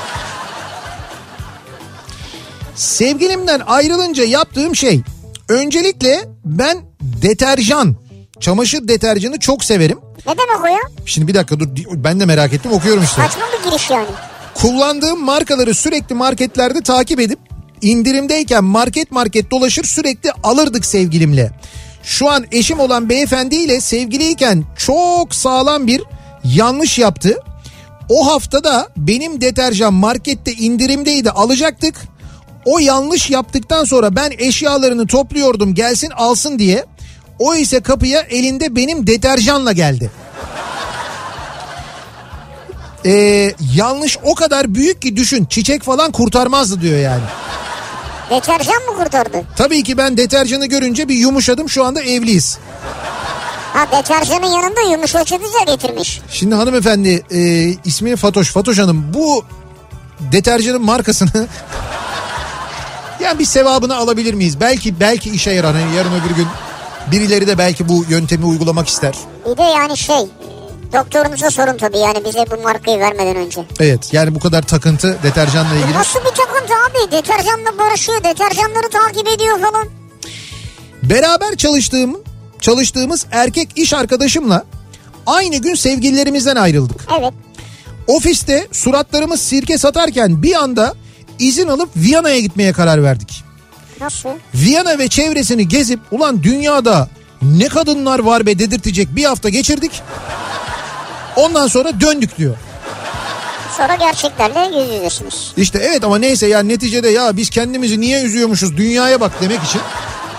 Sevgilimden ayrılınca yaptığım şey öncelikle ben deterjan, çamaşır deterjanı çok severim.
Ne demek o ya?
Şimdi bir dakika dur ben de merak ettim okuyorum işte.
Saçma bir giriş yani.
Kullandığım markaları sürekli marketlerde takip edip indirimdeyken market market dolaşır sürekli alırdık sevgilimle. Şu an eşim olan beyefendiyle sevgiliyken çok sağlam bir yanlış yaptı. O haftada benim deterjan markette indirimdeydi alacaktık. O yanlış yaptıktan sonra ben eşyalarını topluyordum gelsin alsın diye. O ise kapıya elinde benim deterjanla geldi. Ee, yanlış o kadar büyük ki düşün çiçek falan kurtarmazdı diyor yani.
Deterjan mı kurtardı?
Tabii ki ben deterjanı görünce bir yumuşadım şu anda evliyiz.
Ha deterjanın yanında yumuşatıcı da getirmiş.
Şimdi hanımefendi e, ismi Fatoş. Fatoş Hanım bu deterjanın markasını [LAUGHS] yani bir sevabını alabilir miyiz? Belki belki işe yarar. Hani yarın öbür gün birileri de belki bu yöntemi uygulamak ister.
Bir de yani şey e, doktorunuza sorun tabii yani bize bu markayı vermeden önce.
Evet yani bu kadar takıntı deterjanla ilgili.
Nasıl bir takıntı abi? Deterjanla barışıyor, deterjanları takip ediyor falan.
Beraber çalıştığım çalıştığımız erkek iş arkadaşımla aynı gün sevgililerimizden ayrıldık.
Evet.
Ofiste suratlarımız sirke satarken bir anda izin alıp Viyana'ya gitmeye karar verdik.
Nasıl?
Viyana ve çevresini gezip ulan dünyada ne kadınlar var be dedirtecek bir hafta geçirdik. Ondan sonra döndük diyor.
Sonra gerçeklerle yüz yüzesiniz.
İşte evet ama neyse ya neticede ya biz kendimizi niye üzüyormuşuz dünyaya bak demek için.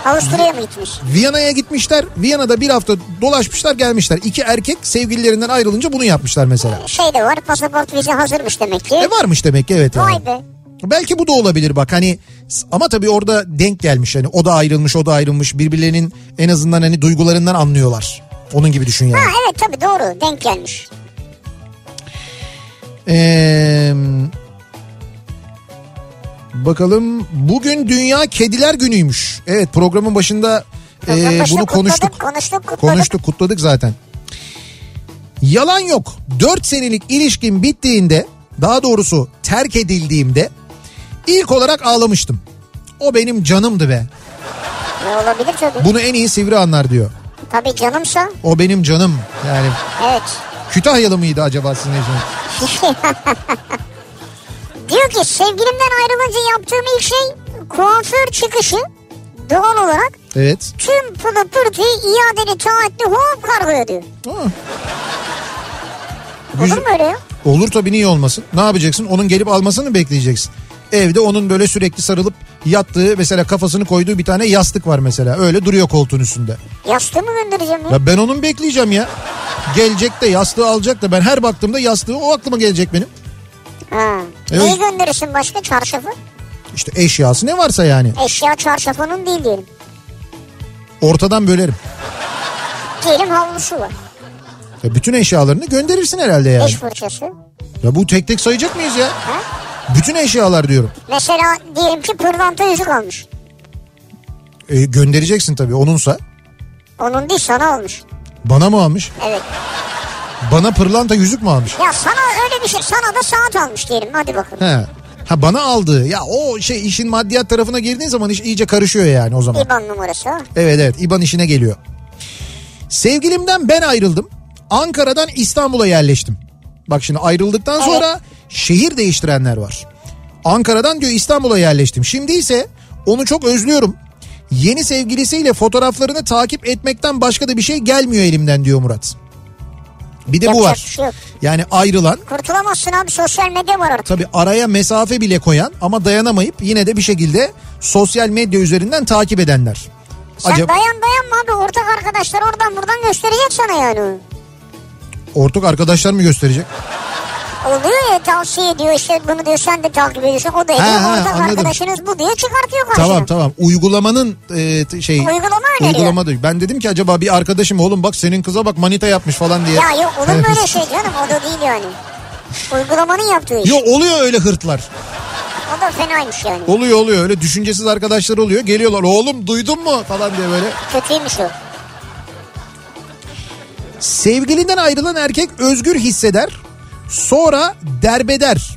Avusturya'ya mı gitmiş?
Viyana'ya gitmişler. Viyana'da bir hafta dolaşmışlar gelmişler. İki erkek sevgililerinden ayrılınca bunu yapmışlar mesela.
Şey de var pasaport vize hazırmış demek ki.
E varmış demek ki evet. yani.
Vay be.
Belki bu da olabilir bak hani s- ama tabii orada denk gelmiş yani o da ayrılmış o da ayrılmış birbirlerinin en azından hani duygularından anlıyorlar. Onun gibi düşün
Ha
yani.
evet tabii doğru denk gelmiş.
Ee, bakalım bugün Dünya Kediler Günü'ymüş. Evet programın başında
Programın
ee,
başında
bunu konuştuk.
kutladık, konuştuk, kutladık.
Konuştuk kutladık zaten. Yalan yok. 4 senelik ilişkim bittiğinde daha doğrusu terk edildiğimde ilk olarak ağlamıştım. O benim canımdı be.
Ne E, olabilir tabii.
Bunu en iyi sivri anlar diyor.
Tabii canımsa
O benim canım. Yani
evet.
Kütahyalı mıydı acaba sizin eşiniz?
Diyor ki sevgilimden ayrılınca yaptığım ilk şey kuaför çıkışı doğal olarak
Evet.
tüm pılı pırtıyı iadeli taahhütlü hop kargoya diyor.
Ha.
Olur
Güzel-
mu öyle ya?
Olur tabii niye olmasın? Ne yapacaksın? Onun gelip almasını mı bekleyeceksin. Evde onun böyle sürekli sarılıp yattığı mesela kafasını koyduğu bir tane yastık var mesela. Öyle duruyor koltuğun üstünde.
Yastığı mı göndereceğim ya?
Ya ben onun bekleyeceğim ya. Gelecek de yastığı alacak da ben her baktığımda yastığı o aklıma gelecek benim.
Ha.
Evet.
Neyi gönderirsin başka çarşafı?
İşte eşyası ne varsa yani.
Eşya çarşafının değil diyelim.
Ortadan bölerim.
Diyelim havlusu var.
Ya bütün eşyalarını gönderirsin herhalde yani.
Eş fırçası.
Ya bu tek tek sayacak mıyız ya?
Ha?
Bütün eşyalar diyorum.
Mesela diyelim ki pırlanta yüzük almış.
E, göndereceksin tabii onunsa.
Onun değil sana olmuş.
Bana mı almış?
Evet.
Bana pırlanta yüzük mü almış?
Ya sana öyle bir şey. Sana da saat almış diyelim. Hadi bakalım.
He. Ha bana aldı. Ya o şey işin maddiyat tarafına girdiğin zaman iş iyice karışıyor yani o zaman.
İban numarası. ha.
Evet evet İban işine geliyor. Sevgilimden ben ayrıldım. Ankara'dan İstanbul'a yerleştim. Bak şimdi ayrıldıktan sonra şehir değiştirenler var. Ankara'dan diyor İstanbul'a yerleştim. Şimdi ise onu çok özlüyorum. Yeni sevgilisiyle fotoğraflarını takip etmekten başka da bir şey gelmiyor elimden diyor Murat. Bir de bu
Yapacak
var.
bir şey yok.
Yani ayrılan
Kurtulamazsın abi sosyal medya var artık.
Tabi araya mesafe bile koyan ama dayanamayıp yine de bir şekilde sosyal medya üzerinden takip edenler.
Sen
Acaba
dayan dayanma abi ortak arkadaşlar oradan buradan gösterecek sana yani.
ortak arkadaşlar mı gösterecek?
Oluyor ya tavsiye ediyor işte bunu diyor sen de takip ediyorsun o da ediyor
ha,
ortak
anladım.
arkadaşınız bu diyor çıkartıyor karşına.
Tamam tamam uygulamanın e, t- şey
Uygulama öneriyor.
uygulama da- Ben dedim ki acaba bir arkadaşım oğlum bak senin kıza bak manita yapmış falan diye.
Ya yok
[LAUGHS]
olur mu öyle şey canım o da değil yani. Uygulamanın yaptığı iş.
Yok oluyor öyle hırtlar.
O da fenaymış yani.
Oluyor oluyor öyle düşüncesiz arkadaşlar oluyor. Geliyorlar oğlum duydun mu falan diye böyle.
Kötüymüş o.
Sevgilinden ayrılan erkek özgür hisseder. Sonra derbeder.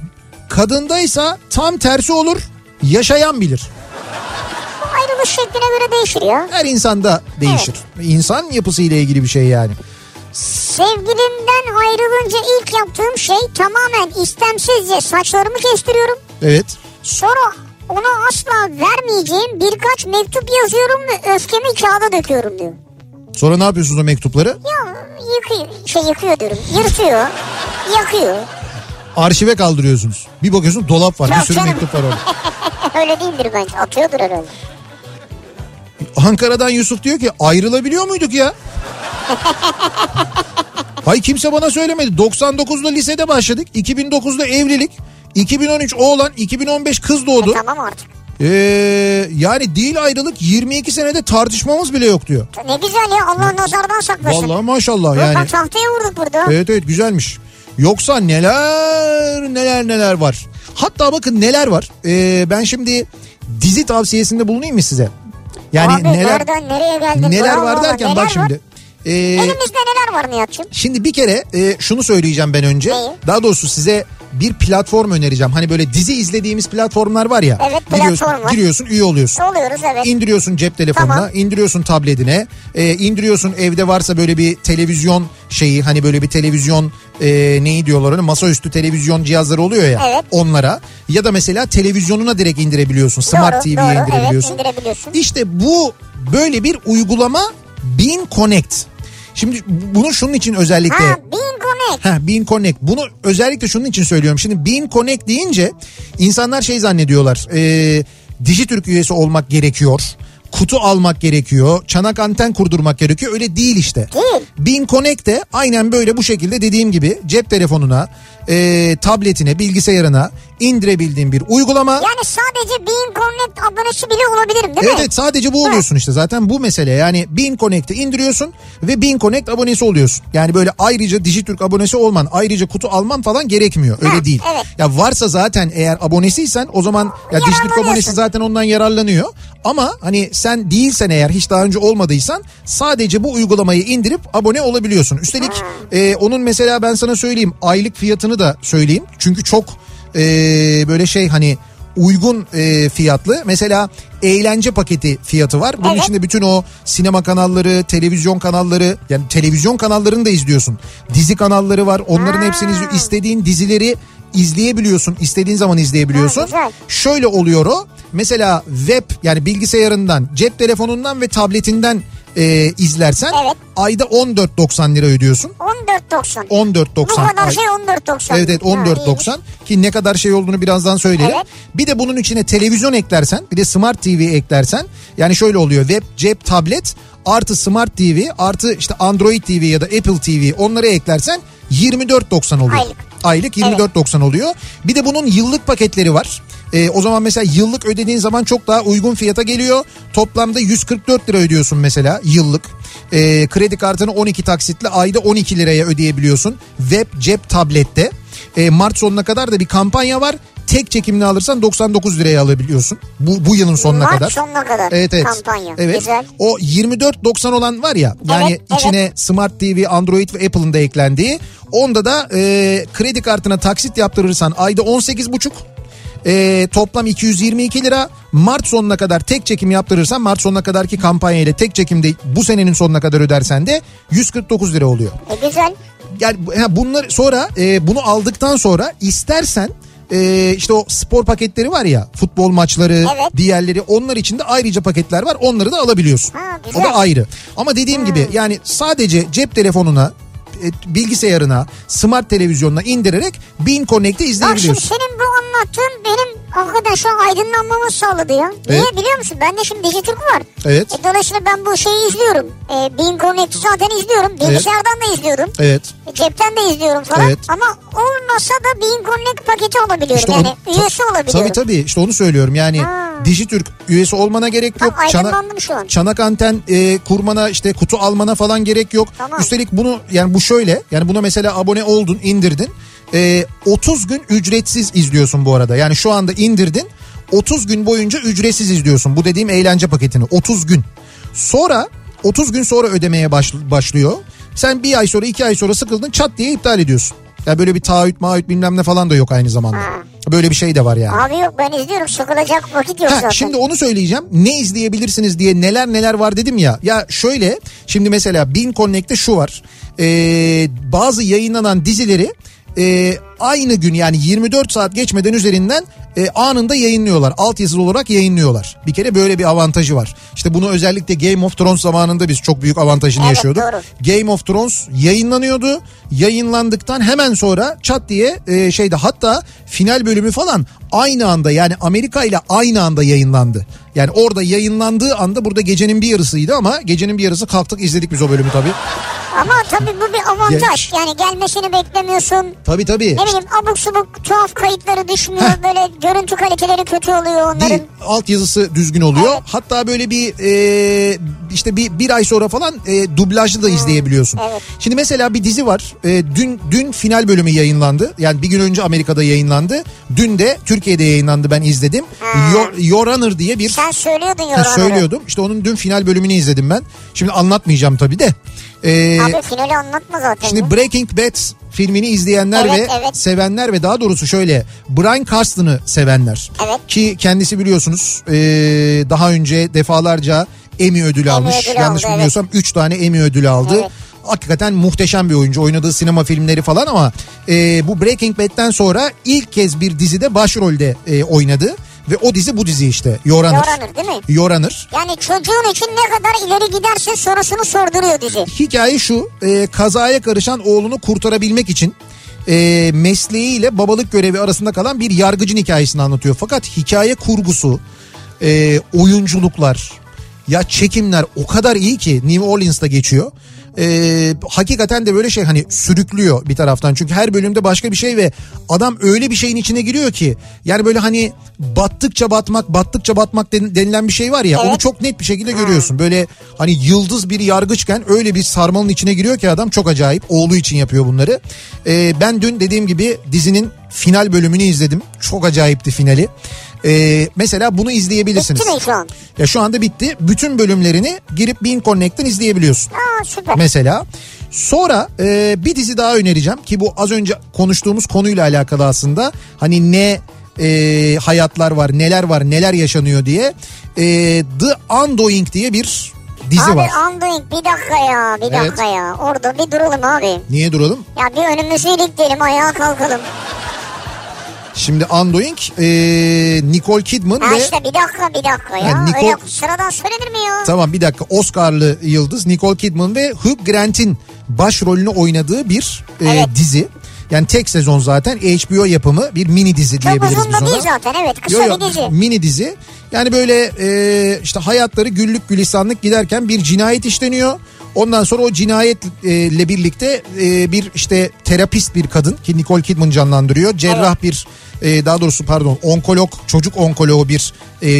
Kadındaysa tam tersi olur. Yaşayan bilir.
Bu ayrılış şekline göre değişir ya.
Her insanda değişir. İnsan yapısıyla ilgili bir şey yani.
Sevgilimden ayrılınca ilk yaptığım şey tamamen istemsizce saçlarımı kestiriyorum.
Evet.
Sonra ona asla vermeyeceğim birkaç mektup yazıyorum ve öfkemi kağıda döküyorum diyor.
Sonra ne yapıyorsunuz o mektupları?
Ya yıkıyor, şey yıkıyor diyorum. Yırtıyor, yakıyor.
Arşive kaldırıyorsunuz. Bir bakıyorsun dolap var.
Yok
Bir sürü
canım.
mektup var orada.
Öyle değildir bence. Atıyordur herhalde.
Ankara'dan Yusuf diyor ki ayrılabiliyor muyduk ya? Hay kimse bana söylemedi. 99'da lisede başladık. 2009'da evlilik. 2013 oğlan, 2015 kız
E,
doğdu.
tamam artık.
Ee, yani değil ayrılık 22 senede tartışmamız bile yok diyor.
Ne güzel ya Allah nazardan saklasın.
Vallahi maşallah
Bak,
yani. Ee,
bak tahtaya vurduk burada.
Evet evet güzelmiş. Yoksa neler neler neler var. Hatta bakın neler var. Ee, ben şimdi dizi tavsiyesinde bulunayım mı size? Yani
Abi
neler
nereden nereye geldin?
neler
Bravo,
var derken
neler
bak
var?
şimdi. Ee,
Elimizde neler var Nihat'cığım?
şimdi bir kere e, şunu söyleyeceğim ben önce.
Neyi?
Daha doğrusu size bir platform önereceğim. Hani böyle dizi izlediğimiz platformlar var ya.
Evet, platform
giriyorsun,
var.
Giriyorsun üye oluyorsun.
Oluyoruz evet.
İndiriyorsun Ee, cep telefonuna,
Tamam.
indiriyorsun tabletine, e, indiriyorsun evde varsa böyle bir televizyon şeyi hani böyle bir televizyon e, neyi diyorlar onu masaüstü televizyon cihazları oluyor ya
Evet.
onlara ya da mesela televizyonuna direkt indirebiliyorsun. Smart
doğru,
TV'ye
doğru.
indirebiliyorsun.
Evet indirebiliyorsun.
İşte bu böyle bir uygulama Bean Connect. Şimdi bunu şunun için özellikle
Ha Bing Connect.
Ha Bean Connect. Bunu özellikle şunun için söylüyorum. Şimdi Bean Connect deyince insanlar şey zannediyorlar. E, Dijitürk üyesi olmak gerekiyor. Kutu almak gerekiyor. Çanak anten kurdurmak gerekiyor. Öyle değil işte.
Değil.
Bean Connect de aynen böyle bu şekilde dediğim gibi cep telefonuna, e, tabletine, bilgisayarına indirebildiğin bir uygulama.
Yani sadece Bing Connect abonesi bile olabilirim değil
Evet,
mi?
evet sadece bu oluyorsun işte zaten bu mesele yani Bin Connect'i indiriyorsun ve Bin Connect abonesi oluyorsun. Yani böyle ayrıca Dijitürk abonesi olman ayrıca kutu alman falan gerekmiyor öyle
Ha,
değil.
evet.
Ya varsa zaten eğer abonesiysen o zaman ya Dijitürk
Yararlanıyorsun.
abonesi zaten ondan yararlanıyor. Ama hani sen değilsen eğer hiç daha önce olmadıysan sadece bu uygulamayı indirip abone olabiliyorsun. Üstelik e, onun mesela ben sana söyleyeyim aylık fiyatını da söyleyeyim. Çünkü çok e, böyle şey hani uygun e, fiyatlı. Mesela eğlence paketi fiyatı var. Bunun
Evet.
içinde bütün o sinema kanalları, televizyon kanalları yani televizyon kanallarını da izliyorsun. Dizi kanalları var. Onların hepsini izliyorsun. İstediğin dizileri izleyebiliyorsun. İstediğin zaman izleyebiliyorsun.
Ha, güzel.
Şöyle oluyor o. Mesela web yani bilgisayarından, cep telefonundan ve tabletinden e, izlersen
Evet.
ayda 14.90 lira ödüyorsun.
14.90. Bu
14.90.
kadar
ay-
şey 14.90.
Evet evet
Ha, iyiymiş.
14.90 ki ne kadar şey olduğunu birazdan söyleyelim.
Evet.
Bir de bunun içine televizyon eklersen bir de Smart TV eklersen yani şöyle oluyor web cep tablet artı Smart TV artı işte Android TV ya da Apple TV onları eklersen 24.90 oluyor.
Aylık.
Aylık 24.90 oluyor. Bir de bunun yıllık paketleri var. Ee, o zaman mesela yıllık ödediğin zaman çok daha uygun fiyata geliyor. Toplamda 144 lira ödüyorsun mesela yıllık. Ee, kredi kartını 12 taksitle ayda 12 liraya ödeyebiliyorsun. Web cep tablette. Ee, Mart sonuna kadar da bir kampanya var. Tek çekimini alırsan 99 liraya alabiliyorsun. Bu, bu yılın sonuna
Mart
kadar.
sonuna kadar
Evet evet.
kampanya.
Evet.
Güzel.
O 24.90 olan var ya yani
Evet,
içine Smart TV, Android ve Apple'ın da eklendiği. Onda da e, kredi kartına taksit yaptırırsan ayda 18.5 e, toplam 222 lira. Mart sonuna kadar tek çekim yaptırırsan Mart sonuna kadarki kampanya ile tek çekimde bu senenin sonuna kadar ödersen de 149 lira oluyor
E, güzel.
yani ha, bunlar sonra e, bunu aldıktan sonra istersen e, işte o spor paketleri var ya futbol maçları
Evet.
diğerleri onlar için de ayrıca paketler var onları da alabiliyorsun.
Ha,
o
güzel.
da ayrı ama dediğim gibi yani sadece cep telefonuna e, bilgisayarına smart televizyonuna indirerek Bin Connect'i
Bak şimdi
izleyebiliyorsun.
senin bu anlattığın benim hakikaten şu an aydınlanmamı sağladı ya. Niye
Evet.
biliyor musun? Bende şimdi Dijitürk var.
Evet.
E, dolayısıyla ben bu şeyi izliyorum. E, Bing Connect'i zaten izliyorum. Bilgisayardan da izliyorum.
Evet.
E, Cepten de izliyorum falan.
Evet.
Ama olmasa da Bing Connect paketi olabiliyorum. yani
onu-
üyesi
ta-
olabiliyorum.
Tabii tabii işte onu söylüyorum yani
Ha.
Dijitürk üyesi olmana gerek yok.
Tam
Çana-
aydınlandım şu an.
Çanak anten e, kurmana işte kutu almana falan gerek yok.
Tamam.
Üstelik bunu yani bu şöyle yani buna mesela abone oldun indirdin. E, 30 gün ücretsiz izliyorsun bu arada yani şu anda indirdin 30 gün boyunca ücretsiz izliyorsun bu dediğim eğlence paketini 30 gün. Sonra 30 gün sonra ödemeye baş- başlıyor. Sen bir ay sonra iki ay sonra sıkıldın çat diye iptal ediyorsun. Ya böyle bir taahhüt maahhüt bilmem ne falan da yok aynı zamanda. Böyle bir şey de var yani.
Abi yok ben izliyorum. Sıkılacak vakit yok
Ha,
zaten.
şimdi onu söyleyeceğim. Ne izleyebilirsiniz diye neler neler var dedim ya. Ya şöyle şimdi mesela Bin Connect'te şu var. Ee, bazı yayınlanan dizileri e, aynı gün yani 24 saat geçmeden üzerinden e, anında yayınlıyorlar. Altyazılı olarak yayınlıyorlar. Bir kere böyle bir avantajı var. İşte bunu özellikle Game of Thrones zamanında biz çok büyük avantajını
Evet,
yaşıyorduk.
doğru.
Game of Thrones yayınlanıyordu. Yayınlandıktan hemen sonra çat diye e, şeyde hatta final bölümü falan aynı anda yani Amerika ile aynı anda yayınlandı. Yani orada yayınlandığı anda burada gecenin bir yarısıydı ama gecenin bir yarısı kalktık izledik biz o bölümü tabii.
Ama tabii bu bir avantaj. Yani gelmesini beklemiyorsun.
Tabii tabii.
Ne bileyim abuk subuk tuhaf kayıtları düşmüyor. Böyle görüntü kaliteleri kötü oluyor onların.
Değil. Altyazısı düzgün oluyor.
Evet.
Hatta böyle bir e, işte bir bir ay sonra falan e, dublajlı da izleyebiliyorsun.
Hmm. evet.
Şimdi mesela bir dizi var. E, dün dün final bölümü yayınlandı. Yani bir gün önce Amerika'da yayınlandı. Dün de Türkiye'de yayınlandı. Ben izledim. Yo, Your Honor diye bir
Hmm. Sen söylüyordun ya.
Ha,
oraları.
söylüyordum. İşte onun dün final bölümünü izledim ben. Şimdi anlatmayacağım tabii de. E,
Abi finali anlatma zaten. ya.
Şimdi Breaking Bad filmini izleyenler
Evet,
ve
evet.
sevenler ve daha doğrusu şöyle Brian Cranston'ı sevenler.
Evet.
Ki kendisi biliyorsunuz e, daha önce defalarca Emmy ödülü almış.
ödülü
Yanlış
aldı, evet.
bilmiyorsam 3 tane Emmy ödülü aldı.
Evet.
Hakikaten muhteşem bir oyuncu. Oynadığı sinema filmleri falan ama e, bu Breaking Bad'den sonra ilk kez bir dizide başrolde e, oynadı. Ve o dizi bu dizi işte. Yoranır.
Yoranır, değil mi?
Yoranır.
Yani çocuğun için ne kadar ileri giderse sonrasını sorduruyor dizi.
Hikaye şu e, kazaya karışan oğlunu kurtarabilmek için e, mesleğiyle babalık görevi arasında kalan bir yargıcın hikayesini anlatıyor. Fakat hikaye kurgusu, e, oyunculuklar, ya çekimler o kadar iyi ki New Orleans'ta geçiyor. E, hakikaten de böyle şey hani sürüklüyor bir taraftan çünkü her bölümde başka bir şey ve adam öyle bir şeyin içine giriyor ki yani böyle hani battıkça batmak battıkça batmak den- denilen bir şey var ya onu
Evet.
çok net bir şekilde görüyorsun. Böyle hani yıldız bir yargıçken öyle bir sarmalın içine giriyor ki adam çok acayip. Oğlu için yapıyor bunları. Ee, ben dün dediğim gibi dizinin final bölümünü izledim. Çok acayipti finali. Ee, mesela bunu izleyebilirsiniz.
Bitti mi şu an?
Ya şu anda bitti. Bütün bölümlerini girip Bean Connect'ten izleyebiliyorsun
Aa süper.
mesela. Sonra e, bir dizi daha önereceğim ki bu az önce konuştuğumuz konuyla alakalı aslında. Hani ne e, hayatlar var, neler var, neler yaşanıyor diye. E, The Undoing diye bir dizi
abi
var.
Undoing bir dakika ya bir
Evet.
dakika ya. Orada bir duralım abi.
Niye duralım?
Ya bir önümüzü ilikleyelim ayağa kalkalım.
Şimdi Undoing e, Nicole Kidman
Ha
ve...
işte bir dakika bir dakika ya.
Ha, Niko-
Öyle sıradan söylenir mi ya?
Tamam bir dakika Oscar'lı yıldız Nicole Kidman ve Hugh Grant'in başrolünü oynadığı bir e,
Evet.
dizi. Yani tek sezon zaten HBO yapımı bir mini dizi
Çok
diyebiliriz
uzun
biz
da
ona.
değil zaten evet. Kısa
Yo, yo,
bir dizi.
Mini dizi. Yani böyle e, işte hayatları güllük gülistanlık giderken bir cinayet işleniyor. Ondan sonra o cinayetle birlikte e, bir işte terapist bir kadın ki Nicole Kidman canlandırıyor. Cerrah bir e, daha doğrusu pardon onkolog çocuk onkoloğu bir e,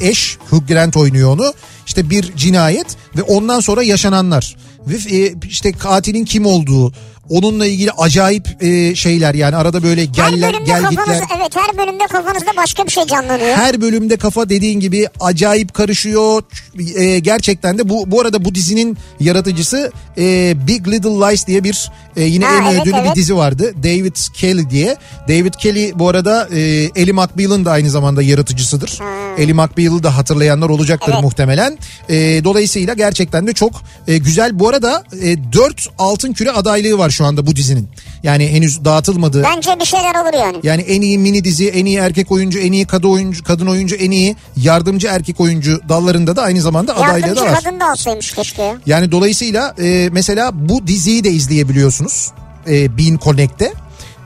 eş Hugh Grant oynuyor onu. İşte bir cinayet ve ondan sonra yaşananlar ve e, işte katilin kim olduğu onunla ilgili acayip e, şeyler yani arada böyle
Her
geller
bölümde
gel
kafanız,
gitler
evet her bölümde kafanızda başka bir şey canlanıyor.
her bölümde kafa dediğin gibi acayip karışıyor. Ç- e, gerçekten de bu bu arada bu dizinin yaratıcısı e, Big Little Lies diye bir e, yine
Ha,
en
evet,
ödüllü bir
evet.
dizi vardı. David Kelly diye. David Kelly bu arada e, Ellie McBeal'ın da aynı zamanda yaratıcısıdır.
Hmm.
Ellie McBeal'ı da hatırlayanlar olacaktır muhtemelen. E, dolayısıyla gerçekten de çok e, güzel. Bu arada e, 4 altın küre adaylığı var şu anda bu dizinin. Yani henüz dağıtılmadı.
Bence bir şeyler olur yani.
Yani en iyi mini dizi, en iyi erkek oyuncu, en iyi kadın oyuncu, kadın oyuncu, en iyi yardımcı erkek oyuncu dallarında da aynı zamanda adaylığı da
Yardımcı
var.
kadın da olsaymış keşke. ya.
Yani dolayısıyla e, mesela bu diziyi de izleyebiliyorsunuz. E, Bean Connect'te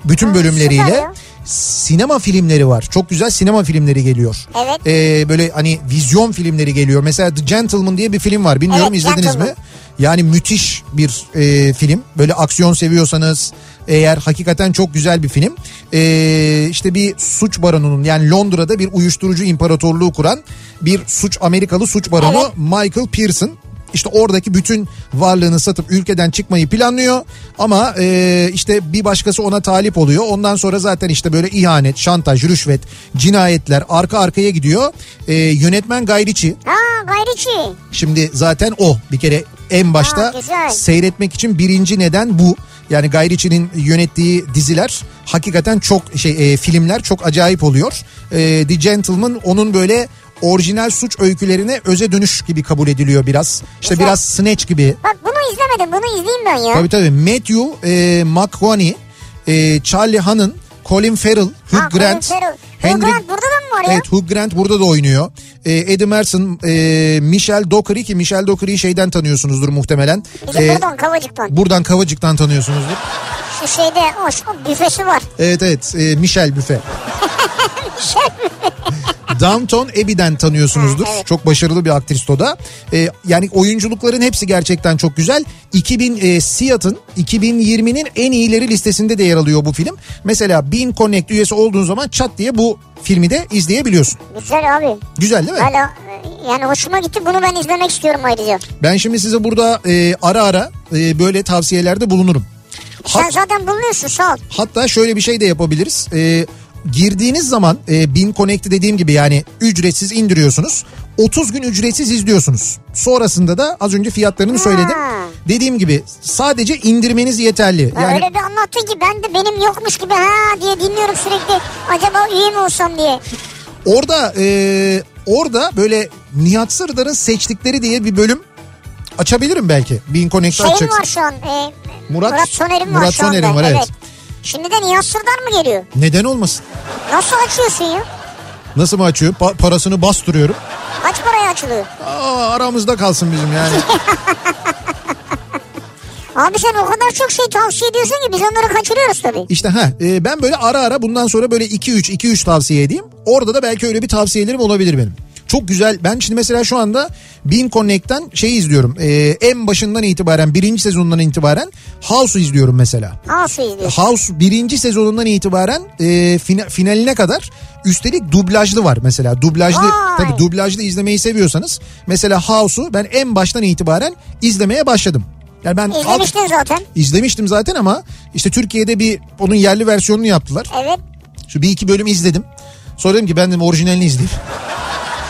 bütün
süper
bölümleriyle
ya.
sinema filmleri var. Çok güzel sinema filmleri geliyor.
Evet.
E, böyle hani vizyon filmleri geliyor. Mesela The Gentleman diye bir film var. Bilmiyorum
Evet,
izlediniz mi?
Gentleman.
Yani müthiş bir e, film. Böyle aksiyon seviyorsanız eğer hakikaten çok güzel bir film. E, işte bir suç baronunun yani Londra'da bir uyuşturucu imparatorluğu kuran bir suç Amerikalı suç baronu
Evet.
Michael Pearson. İşte oradaki bütün varlığını satıp ülkeden çıkmayı planlıyor ama e, işte bir başkası ona talip oluyor. Ondan sonra zaten işte böyle ihanet, şantaj, rüşvet, cinayetler arka arkaya gidiyor. E, yönetmen Gayriçi
Ha gayriçi.
Şimdi zaten o bir kere en başta
Ha, güzel.
seyretmek için birinci neden bu. Yani Gayriçi'nin yönettiği diziler hakikaten çok şey e, filmler çok acayip oluyor. E, The Gentleman onun böyle orijinal suç öykülerine öze dönüş gibi kabul ediliyor biraz. İşte
Güzel.
biraz Snatch gibi.
Bak bunu izlemedim bunu izleyeyim ben ya.
Tabii tabii Matthew e, McConaughey, e, Charlie Hunnam, Colin Farrell, Hugh
Ha, Colin
Grant,
Farrell. Hugh
Henry
Grant burada da mı var ya?
Evet Hugh Grant burada da oynuyor. E, Eddie Merson, e, Michelle Dockery ki Michelle Dockery'i şeyden tanıyorsunuzdur muhtemelen.
Bizim
E,
buradan Kavacık'tan.
buradan Kavacık'tan tanıyorsunuzdur.
Şu şeyde hoş o büfesi var.
Evet evet e, Michelle
[LAUGHS]
Büfe. Downton Abbey'den tanıyorsunuzdur.
Ha, evet.
Çok başarılı bir aktrist o da. E, yani oyunculukların hepsi gerçekten çok güzel. 2000 e, Seattle'ın 2020'nin en iyileri listesinde de yer alıyor bu film. Mesela Bean Connect üyesi olduğun zaman çat diye bu filmi de izleyebiliyorsun.
Güzel abi.
Güzel değil mi?
Hala e, yani hoşuma gitti bunu ben izlemek istiyorum ayrıca.
Ben şimdi size burada e, ara ara e, böyle tavsiyelerde bulunurum.
Sen
Hat-
zaten bulunuyorsun sağ ol.
hatta şöyle bir şey de yapabiliriz. E, girdiğiniz zaman e, Bin Connect'i dediğim gibi yani ücretsiz indiriyorsunuz. 30 gün ücretsiz izliyorsunuz. Sonrasında da az önce fiyatlarını söyledim. Dediğim gibi sadece indirmeniz yeterli.
Ya
Yani
Öyle bir anlattın ki ben de benim yokmuş gibi ha diye dinliyorum sürekli. Acaba üye mi olsam diye.
Orada e, orada böyle Nihat Sırdar'ın seçtikleri diye bir bölüm açabilirim belki. Bean Connect'ı
Şeyim
açacaksın.
Şey var şu an. e,
Murat-
Murat, Soner'im var
Murat
şu anda.
Soner'im var, evet.
Şimdi de Nihat Sırdar mı geliyor?
Neden olmasın?
Nasıl açıyorsun ya?
Nasıl mı açıyor? Pa- parasını bastırıyorum.
Kaç paraya açılıyor?
Aa, aramızda kalsın bizim yani.
Abi sen o kadar çok şey tavsiye ediyorsun ki biz onları kaçırıyoruz tabii.
İşte ha e, ben böyle ara ara bundan sonra böyle 2 3 2 3 tavsiye edeyim. Orada da belki öyle bir tavsiyelerim olabilir benim. Çok güzel. Ben şimdi mesela şu anda Bean Connect'ten şey izliyorum. E, en başından itibaren birinci sezondan itibaren House'u izliyorum mesela.
Nasıl izliyorsun?
House birinci sezonundan itibaren e, fina- finaline kadar üstelik dublajlı var mesela. Dublajlı
Vay.
tabii dublajlı izlemeyi seviyorsanız mesela House'u ben en baştan itibaren izlemeye başladım. Yani ben alt-
İzlemiştin zaten.
İzlemiştim zaten ama işte Türkiye'de bir onun yerli versiyonunu yaptılar.
Evet.
Şu bir iki bölüm izledim. Sonra dedim ki ben dedim orijinalini
[LAUGHS]
izleyeyim.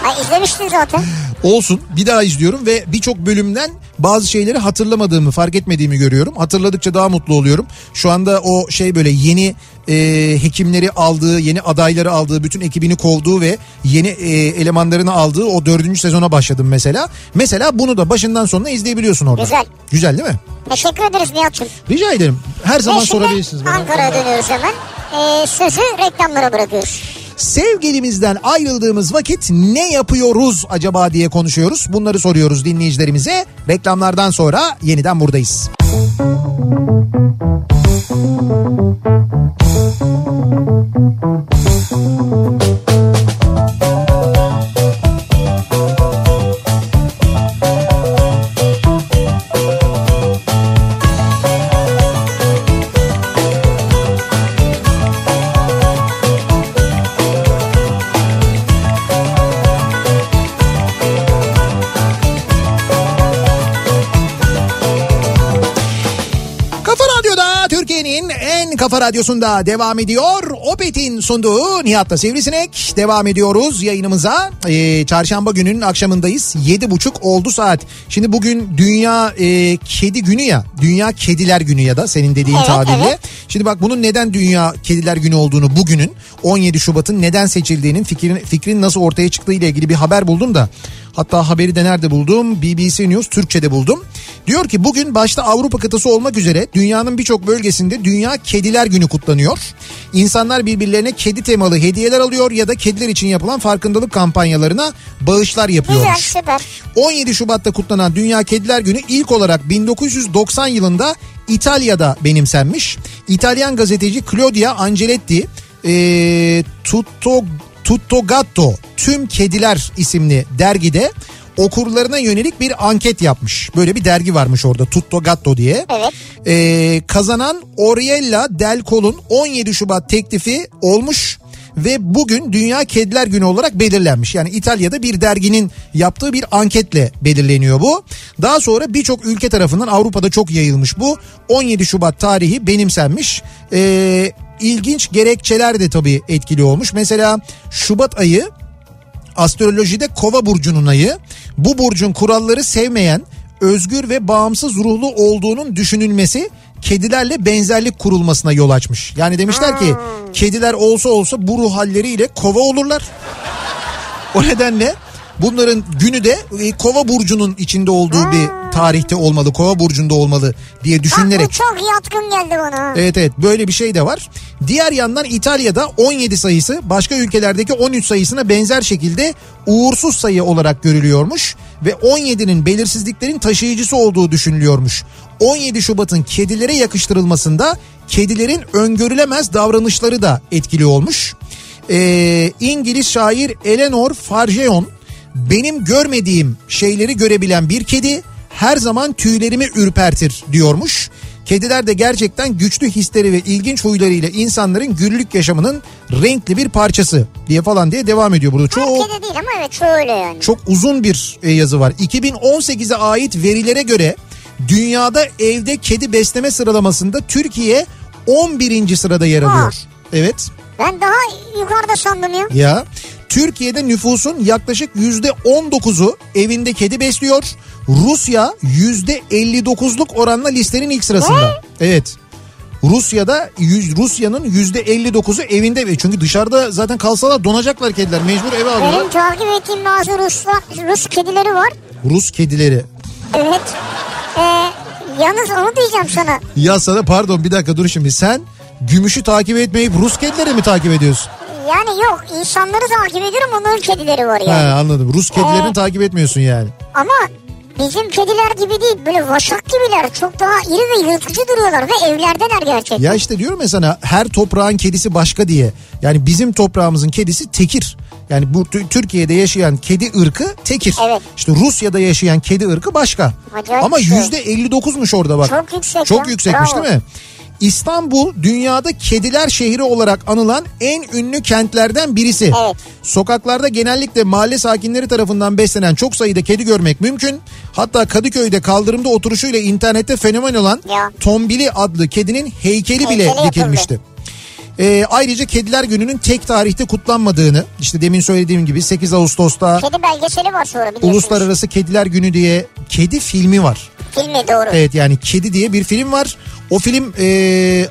Ha, izlemiştin zaten.
Olsun bir daha izliyorum ve birçok bölümden bazı şeyleri hatırlamadığımı fark etmediğimi görüyorum. Hatırladıkça daha mutlu oluyorum. Şu anda o şey böyle yeni e, hekimleri aldığı, yeni adayları aldığı, bütün ekibini kovduğu ve yeni e, elemanlarını aldığı o dördüncü sezona başladım mesela. Mesela bunu da başından sonuna izleyebiliyorsun orada.
Güzel.
Güzel değil mi?
Teşekkür ederiz Nihat'cığım.
Rica ederim. Her zaman
Ve şimdi
sorabilirsiniz bana.
Ankara'ya dönüyoruz hemen. Ee, sözü reklamlara bırakıyoruz.
Sevgilimizden ayrıldığımız vakit ne yapıyoruz acaba diye konuşuyoruz. Bunları soruyoruz dinleyicilerimize. Reklamlardan sonra yeniden buradayız. Kafa Radyo'da Türkiye'nin en kafa radyosunda devam ediyor. Opet'in sunduğu Nihat'la Sivrisinek. Devam ediyoruz yayınımıza. Ee, çarşamba gününün akşamındayız. Yedi buçuk oldu saat. Şimdi bugün Dünya e, Kedi Günü ya. Dünya Kediler Günü ya da senin dediğin
Evet,
tabirle.
evet.
Şimdi bak bunun neden Dünya Kediler Günü olduğunu bugünün 17 Şubat'ın neden seçildiğinin fikrin, fikrin nasıl ortaya çıktığı ile ilgili bir haber buldum da hatta haberi de nerede buldum? BBC News Türkçe'de buldum. Diyor ki bugün başta Avrupa kıtası olmak üzere dünyanın birçok bölgesinde Dünya Kediler Günü kutlanıyor. İnsanlar birbirlerine kedi temalı hediyeler alıyor ya da kediler için yapılan farkındalık kampanyalarına bağışlar yapıyormuş.
Güzel süper.
17 Şubat'ta kutlanan Dünya Kediler Günü ilk olarak 1990 yılında İtalya'da benimsenmiş. İtalyan gazeteci Claudia Angeletti e, Tutto, Tutto Gatto Tüm Kediler isimli dergide okurlarına yönelik bir anket yapmış. Böyle bir dergi varmış orada Tutto Gatto diye.
Evet.
E, kazanan Oriella Del Col'un 17 Şubat teklifi olmuş ve bugün Dünya Kediler Günü olarak belirlenmiş. Yani İtalya'da bir derginin yaptığı bir anketle belirleniyor bu. Daha sonra birçok ülke tarafından Avrupa'da çok yayılmış bu. 17 Şubat tarihi benimsenmiş. Ee, ilginç gerekçeler de tabii etkili olmuş. Mesela Şubat ayı astrolojide kova burcunun ayı. Bu burcun kuralları sevmeyen, özgür ve bağımsız ruhlu olduğunun düşünülmesi kedilerle benzerlik kurulmasına yol açmış. Yani demişler ki kediler olsa olsa bu ruh halleriyle kova olurlar. O nedenle bunların günü de e, kova burcunun içinde olduğu bir tarihte olmalı. Kova burcunda olmalı diye
Bak
düşünülerek
bu çok yatkın geldi bana. ha.
Evet evet böyle bir şey de var. Diğer yandan İtalya'da 17 sayısı başka ülkelerdeki 13 sayısına benzer şekilde uğursuz sayı olarak görülüyormuş ve 17'nin belirsizliklerin taşıyıcısı olduğu düşünülüyormuş. 17 Şubat'ın kedilere yakıştırılmasında kedilerin öngörülemez davranışları da etkili olmuş. Ee, İngiliz şair Eleanor Fargeon benim görmediğim şeyleri görebilen bir kedi her zaman tüylerimi ürpertir diyormuş. Kediler de gerçekten güçlü hisleri ve ilginç huylarıyla insanların günlük yaşamının renkli bir parçası diye falan diye devam ediyor burada.
Her
Çok
kedi değil ama evet çoğu öyle yani.
çok uzun bir e, yazı var. 2018'e ait verilere göre dünyada evde kedi besleme sıralamasında Türkiye 11. sırada yer alıyor.
Aa.
Evet.
Ben daha yukarıda sandım ya.
Ya Türkiye'de nüfusun yaklaşık yüzde 19'u evinde kedi besliyor. Rusya yüzde 59'luk oranla listenin ilk sırasında. Evet. Rusya'da yüz- Rusya'nın yüzde 59'u evinde ve çünkü dışarıda zaten kalsalar donacaklar kediler mecbur eve alıyorlar.
Benim takip ettiğim bazı Rusla, Rus kedileri var.
Rus kedileri.
Evet. Ee, yalnız onu diyeceğim sana.
Ya sana pardon bir dakika dur şimdi sen gümüşü takip etmeyip Rus kedileri mi takip ediyorsun?
Yani yok insanları takip ediyorum onların kedileri var yani.
Ha, anladım. Rus kedilerini takip etmiyorsun yani.
Ama bizim kediler gibi değil böyle vaşak gibiler. Çok daha iri ve yırtıcı duruyorlar ve evlerdeler gerçekten.
Ya işte diyorum ya sana her toprağın kedisi başka diye. Yani bizim toprağımızın kedisi tekir. Yani bu tü- Türkiye'de yaşayan kedi ırkı tekir.
Evet.
İşte Rusya'da yaşayan kedi ırkı başka.
Acayip
Ama
bir şey.
yüzde 59'muş orada bak.
Çok yüksek
Çok
ya.
yüksekmiş
Bravo.
değil mi? İstanbul dünyada kediler şehri olarak anılan en ünlü kentlerden birisi.
Evet.
Sokaklarda genellikle mahalle sakinleri tarafından beslenen çok sayıda kedi görmek mümkün. Hatta Kadıköy'de kaldırımda oturuşuyla internette fenomen olan
Ya.
Tombili adlı kedinin heykeli bile
Heykeli yapıldı.
dikilmişti. Ee, ayrıca Kediler Günü'nün tek tarihte kutlanmadığını işte demin söylediğim gibi 8 Ağustos'ta
Kedi belgeseli var sonra biliyorsunuz.
Uluslararası Kediler Günü diye kedi filmi var.
Filmi doğru.
Evet yani Kedi diye bir film var. O film e,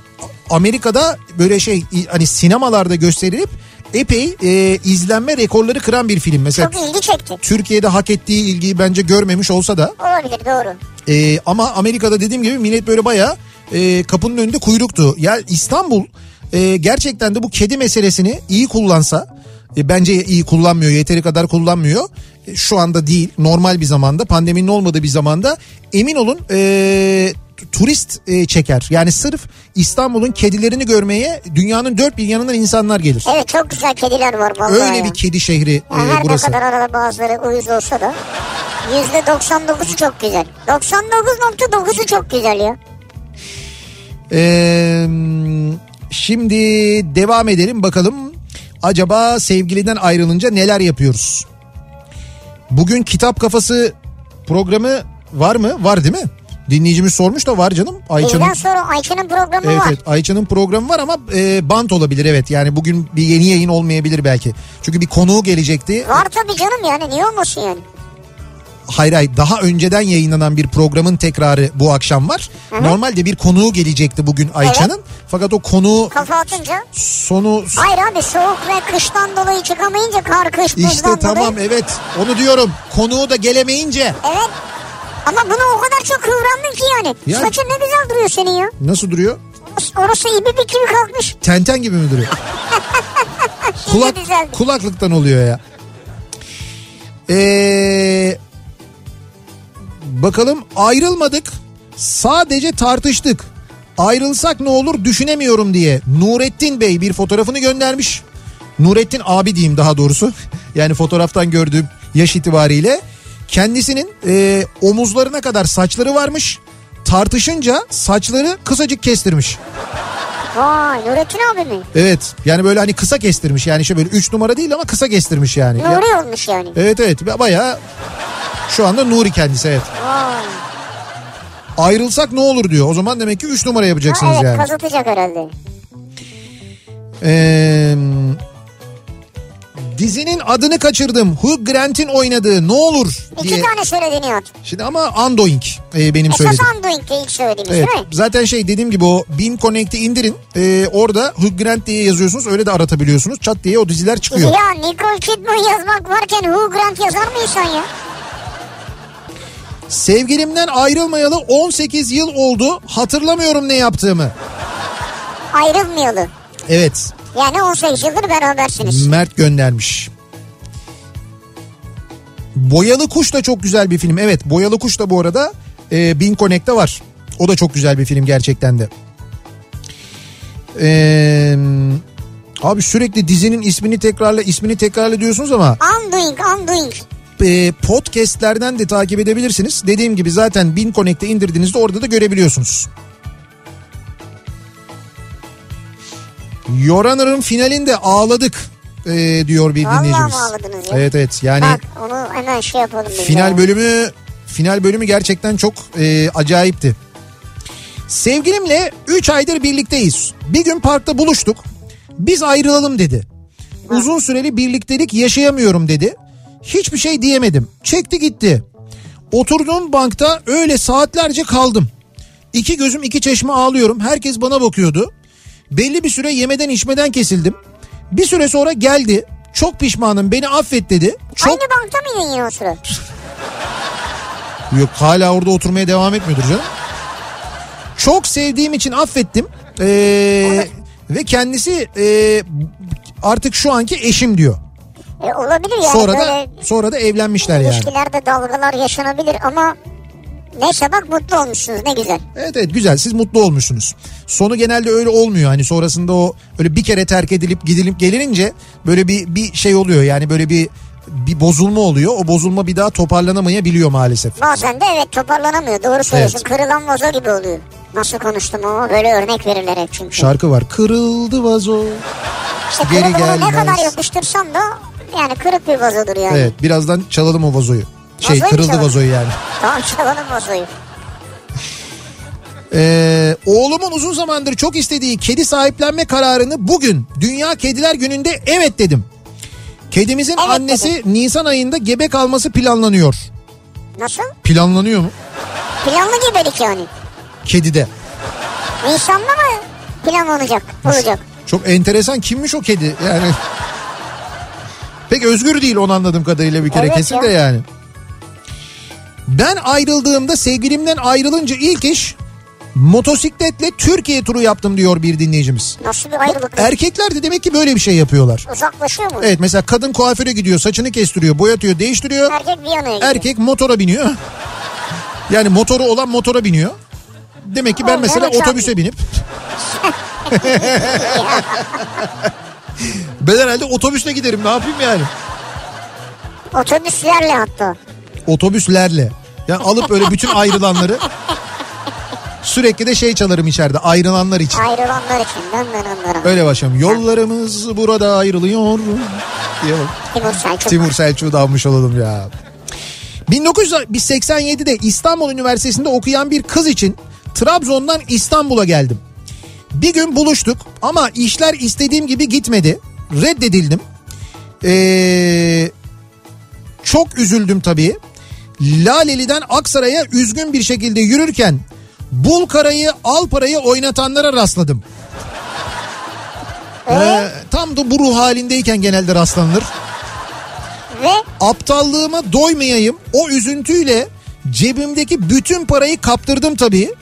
Amerika'da böyle şey i- hani sinemalarda gösterilip epey e, izlenme rekorları kıran bir film. Mesela
Çok ilgi çekti.
Türkiye'de hak ettiği ilgiyi bence görmemiş olsa da
Olabilir doğru.
ee, ama Amerika'da dediğim gibi millet böyle bayağı e, kapının önünde kuyruktu. Ya İstanbul e, gerçekten de bu kedi meselesini iyi kullansa e, bence iyi kullanmıyor yeteri kadar kullanmıyor. E, şu anda değil normal bir zamanda pandeminin olmadığı bir zamanda emin olun e, t- turist e, çeker. Yani sırf İstanbul'un kedilerini görmeye dünyanın dört bir yanından insanlar gelir.
Evet çok güzel kediler var vallahi.
Öyle
ya.
bir kedi şehri e,
Ya her
burası.
ne kadar arada bazıları uyuz olsa da %99'u çok güzel. 99.9'u çok güzel ya.
Ee, şimdi devam edelim bakalım. Acaba sevgiliden ayrılınca neler yapıyoruz? Bugün kitap kafası programı var mı? Var değil mi? Dinleyicimiz sormuş da var canım. Ayça'nın
Bizden sonra Ayça'nın programı
Evet,
var.
evet Ayça'nın programı var ama e, bant olabilir evet. Yani bugün bir yeni yayın olmayabilir belki. Çünkü bir konuğu gelecekti.
Var tabii canım yani niye olmasın yani.
Hayır hayır daha önceden yayınlanan bir programın tekrarı bu akşam var. Normalde bir konuğu gelecekti bugün Ayça'nın. Fakat o konuğu
Kafa atınca.
sonu
Hayır abi soğuk ve kıştan dolayı çıkamayınca kar kış buzdan
İşte tamam
dolayı.
evet onu diyorum konuğu da gelemeyince
Evet. Ama bunu o kadar çok kıvrandın ki yani.
Ya-
Saçın ne güzel duruyor senin ya.
nasıl duruyor?
Orası- Orası ibibik gibi kalkmış.
Tenten gibi mi duruyor? Kulak,
güzeldi.
kulaklıktan oluyor ya. Ee, bakalım ayrılmadık sadece tartıştık. Ayrılsak ne olur düşünemiyorum diye Nurettin Bey bir fotoğrafını göndermiş. Nurettin abi diyeyim daha doğrusu. [LAUGHS] Yani fotoğraftan gördüğüm yaş itibariyle. Kendisinin e, omuzlarına kadar saçları varmış. Tartışınca saçları kısacık kestirmiş.
Vay Nurettin abi mi?
Evet yani böyle hani kısa kestirmiş yani işte böyle 3 numara değil ama kısa kestirmiş yani. Ya-
Nuri olmuş yani.
Evet evet ba- bayağı şu anda Nuri kendisi evet.
Vay.
Ayrılsak ne olur diyor o zaman demek ki 3 numara
Ha,
yapacaksınız
evet
yani.
kazıtacak herhalde.
Ee, dizinin adını kaçırdım Hugh Grant'in oynadığı ne olur
İki
diye.
tane söylediğini yat.
Şimdi ama Undoing e, benim
Esas
söylediğim.
Undoing'de ilk söylediğimiz
Evet,
değil mi?
zaten şey dediğim gibi o Bin Connect'i indirin. Ee, orada Hugh Grant diye yazıyorsunuz. Öyle de aratabiliyorsunuz. Çat diye o diziler çıkıyor.
Ya Nicole Kidman yazmak varken Hugh Grant yazar mı insan ya?
Sevgilimden ayrılmayalı 18 yıl oldu. Hatırlamıyorum ne yaptığımı.
Ayrılmayalı.
Evet.
Yani 18 yıldır berabersiniz.
Mert göndermiş. Boyalı Kuş da çok güzel bir film. Evet Boyalı Kuş da bu arada e, Bin Connect'te var. O da çok güzel bir film gerçekten de. E, abi sürekli dizinin ismini tekrarla ismini tekrarla diyorsunuz ama
Undoing, undoing.
e, podcastlerden de takip edebilirsiniz. Dediğim gibi zaten Bin Connect'e indirdiğinizde orada da görebiliyorsunuz. Yorunner'ın finalinde ağladık e, diyor bir
Vallahi mi
dinleyicimiz.
ağladınız ya?
Evet evet yani
Bak onu hemen şey yapalım. biz
Hani final
ya.
bölümü final bölümü gerçekten çok e, acayipti. Sevgilimle 3 aydır birlikteyiz. Bir gün parkta buluştuk. Biz ayrılalım dedi. uzun süreli birliktelik yaşayamıyorum dedi. Hiçbir şey diyemedim. Çekti gitti. Oturduğum bankta öyle saatlerce kaldım. İki gözüm iki çeşme ağlıyorum. Herkes bana bakıyordu. Belli bir süre yemeden içmeden kesildim. Bir süre sonra geldi. Çok pişmanım beni affet dedi. Çok
Aynı bankta mı yayın o sıra?
Yok hala orada oturmaya devam etmiyordur canım. Çok sevdiğim için affettim. Ee, ve kendisi e, artık şu anki eşim diyor.
E, olabilir yani
sonra da
böyle
sonra da evlenmişler yani.
ilişkilerde dalgalar yaşanabilir ama neyse bak mutlu olmuşsunuz ne güzel.
Evet evet güzel siz mutlu olmuşsunuz. Sonu genelde öyle olmuyor. Hani sonrasında o öyle bir kere terk edilip gidilip gelinince böyle bir bir şey oluyor. Yani böyle bir bir bozulma oluyor. O bozulma bir daha toparlanamayabiliyor maalesef.
Bazen de evet toparlanamıyor doğru söylüyorsun kırılan vazo gibi oluyor. Nasıl konuştum ama böyle örnek verirler hep çünkü.
Şarkı var. Kırıldı vazo.
işte
geri
kırıldığını ne
gelmez.
kadar yapıştırsam da yani kırık bir vazodur yani.
Evet birazdan çalalım o vazoyu. Şey
Vazoyu mu
kırıldı
çalalım?
vazoyu yani.
Tamam çalalım vazoyu.
Ee, oğlumun uzun zamandır çok istediği kedi sahiplenme kararını bugün Dünya Kediler Günü'nde evet dedim. Kedimizin
Evet
annesi Nisan ayında gebe kalması planlanıyor.
Nasıl?
Planlanıyor mu?
Planlı gebelik yani.
Kedide.
Nisan'da mı plan olacak? Olacak.
Çok enteresan kimmiş o kedi yani. [LAUGHS] Pek özgür değil onu anladığım kadarıyla bir kere
Evet
kesin
ya.
de yani. Ben ayrıldığımda sevgilimden ayrılınca ilk iş motosikletle Türkiye turu yaptım diyor bir dinleyicimiz.
Nasıl bir ayrılık?
Erkekler de demek ki böyle bir şey yapıyorlar.
Uzaklaşıyor mu?
er- Evet mesela kadın kuaföre gidiyor saçını kestiriyor boyatıyor değiştiriyor.
Erkek bir yana gidiyor.
Erkek motora biniyor. [LAUGHS] Yani motoru olan motora biniyor. Demek ki ben
Oğlum,
mesela
evet,
otobüse binip... [LAUGHS] ben herhalde otobüsle giderim ne yapayım yani.
Otobüslerle hatta.
Otobüslerle. Yani alıp böyle bütün ayrılanları... Sürekli de şey çalarım içeride ayrılanlar için.
Ayrılanlar için. Dön dön onlara.
Öyle başlayalım. Yollarımız burada ayrılıyor. Diye bak.
Timur Selçuk.
Timur Selçuk'u da almış olalım ya. 1987'de İstanbul Üniversitesi'nde okuyan bir kız için Trabzon'dan İstanbul'a geldim. Bir gün buluştuk ama işler istediğim gibi gitmedi. Reddedildim. Ee, çok üzüldüm tabii. Laleli'den Aksaray'a üzgün bir şekilde yürürken Bulkara'yı Alpara'yı oynatanlara rastladım. Ee, tam da bu ruh halindeyken genelde rastlanılır
Ve
aptallığıma doymayayım. O üzüntüyle cebimdeki bütün parayı kaptırdım tabii.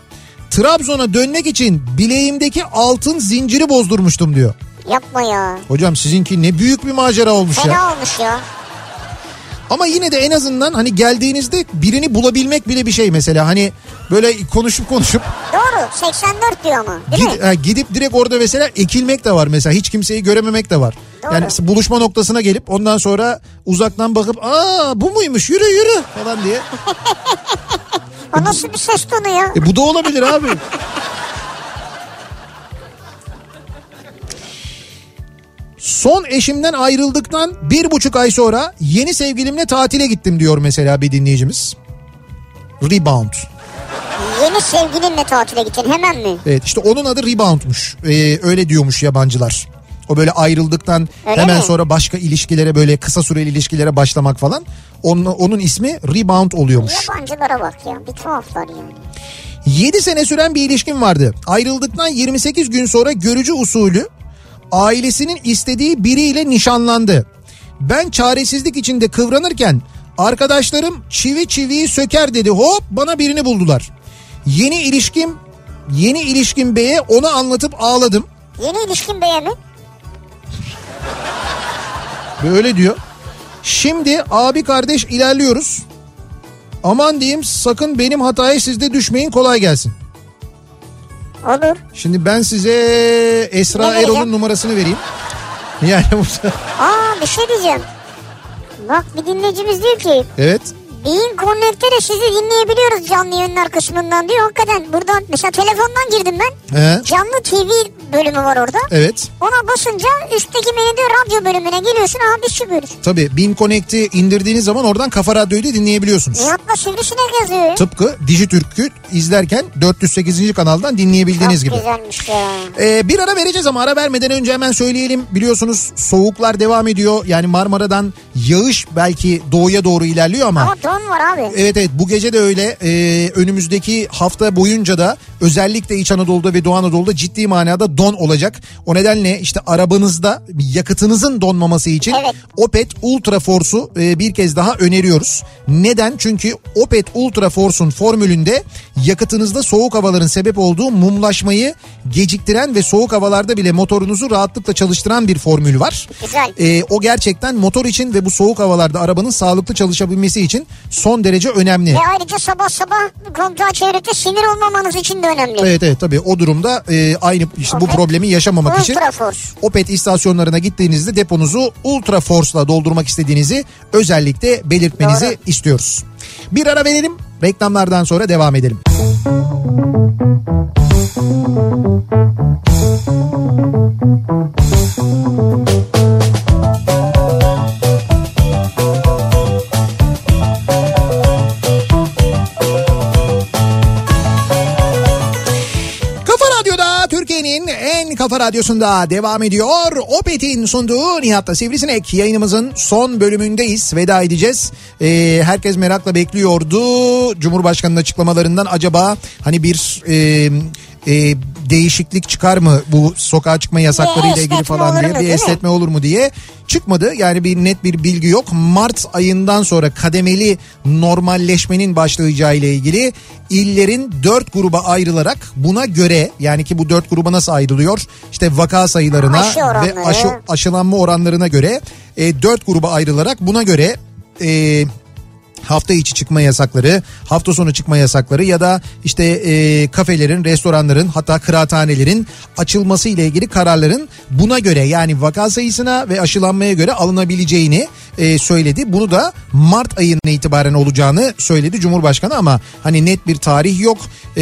Trabzon'a dönmek için bileğimdeki altın zinciri bozdurmuştum diyor.
yapma ya.
Hocam sizinki ne büyük bir macera olmuş
Fena
ya.
olmuş ya.
Ama yine de en azından hani geldiğinizde birini bulabilmek bile bir şey mesela. Hani böyle konuşup konuşup
Doğru. 84 diyor ama. Değil mi?
gid- ha, gidip direkt orada mesela ekilmek de var mesela. Hiç kimseyi görememek de var.
Doğru.
Yani buluşma noktasına gelip ondan sonra uzaktan bakıp aa bu muymuş yürü yürü falan diye.
O nasıl bir ses tonu ya?
E bu da olabilir abi. Son eşimden ayrıldıktan bir buçuk ay sonra yeni sevgilimle tatile gittim diyor mesela bir dinleyicimiz. Rebound.
Yeni sevgilinle tatile gittin hemen mi?
Evet işte onun adı Rebound'muş. Ee, öyle diyormuş yabancılar. O böyle ayrıldıktan
Öyle
hemen
mi?
sonra başka ilişkilere böyle kısa süreli ilişkilere başlamak falan. Onun, onun ismi Rebound oluyormuş.
Yabancılara bak ya. Bir tuhaflar yani.
7 sene süren bir ilişkim vardı. Ayrıldıktan 28 gün sonra görücü usulü ailesinin istediği biriyle nişanlandı. Ben çaresizlik içinde kıvranırken arkadaşlarım çivi çiviyi söker dedi. Hop bana birini buldular. Yeni ilişkim yeni ilişkim beye onu anlatıp ağladım.
Yeni ilişkin beye mi?
Böyle diyor. Şimdi abi kardeş ilerliyoruz. Aman diyeyim sakın benim hataya siz de düşmeyin kolay gelsin.
Olur.
Şimdi ben size
Ne
Esra
vereceğim?
Erol'un numarasını vereyim. Yani bu-
Aa bir şey diyeceğim. Bak bir dinleyicimiz diyor ki
evet.
Beyin Connect'te de sizi dinleyebiliyoruz canlı yayınlar kısmından diyor. Hakikaten buradan mesela telefondan girdim ben.
He.
Canlı TV bölümü var orada.
Evet.
Ona basınca üstteki menüde radyo bölümüne geliyorsun abi biz çıkıyoruz.
Tabii Bin Connect'i indirdiğiniz zaman oradan Kafa Radyo'yu da dinleyebiliyorsunuz.
Nihat'la Sivrisinek yazıyor.
Tıpkı Dijitürk'ü izlerken 408. kanaldan dinleyebildiğiniz gibi.
Çok güzelmiş ya.
Ee, bir ara vereceğiz ama ara vermeden önce hemen söyleyelim. Biliyorsunuz soğuklar devam ediyor. Yani Marmara'dan yağış belki doğuya doğru ilerliyor ama...
Ama don var abi.
Evet evet bu gece de öyle Ee, önümüzdeki hafta boyunca da özellikle İç Anadolu'da ve Doğu Anadolu'da ciddi manada don olacak. O nedenle işte arabanızda yakıtınızın donmaması için
Evet.
Opet Ultra Force'u e, bir kez daha öneriyoruz. Neden? Çünkü Opet Ultra Force'un formülünde yakıtınızda soğuk havaların sebep olduğu mumlaşmayı geciktiren ve soğuk havalarda bile motorunuzu rahatlıkla çalıştıran bir formül var.
Güzel.
Ee, o gerçekten motor için ve bu soğuk havalarda arabanın sağlıklı çalışabilmesi için son derece önemli.
Ve E, ayrıca sabah sabah kontağı çevirip sinir olmamanız için de önemli.
Evet evet tabii o durumda e, aynı işte bu
Opet
problemi yaşamamak için
Ultra Force.
Opet istasyonlarına gittiğinizde deponuzu Ultra Force'la doldurmak istediğinizi özellikle belirtmenizi
Doğru.
istiyoruz. Bir ara verelim reklamlardan sonra devam edelim. Kafa Radyo'da Türkiye'nin en kafa radyosunda devam ediyor. Opet'in sunduğu Nihat'ta Sivrisinek yayınımızın son bölümündeyiz. Veda edeceğiz. Ee, herkes merakla bekliyordu. Cumhurbaşkanı'nın açıklamalarından acaba hani bir... e, e, değişiklik çıkar mı bu sokağa çıkma yasaklarıyla ilgili
esnetme
falan
olur
diye bir
mu, değil mi?
esnetme etme olur mu diye çıkmadı. Yani bir net bir bilgi yok. Mart ayından sonra kademeli normalleşmenin başlayacağı ile ilgili illerin dört gruba ayrılarak buna göre yani ki bu dört gruba nasıl ayrılıyor? İşte vaka sayılarına
Aşı
ve
oranları.
aşı, aşılanma oranlarına göre e, dört gruba ayrılarak buna göre e, hafta içi çıkma yasakları, hafta sonu çıkma yasakları ya da işte e, kafelerin, restoranların hatta kıraathanelerin açılması ile ilgili kararların buna göre yani vaka sayısına ve aşılanmaya göre alınabileceğini e, söyledi. Bunu da Mart ayından itibaren olacağını söyledi Cumhurbaşkanı ama hani net bir tarih yok. E,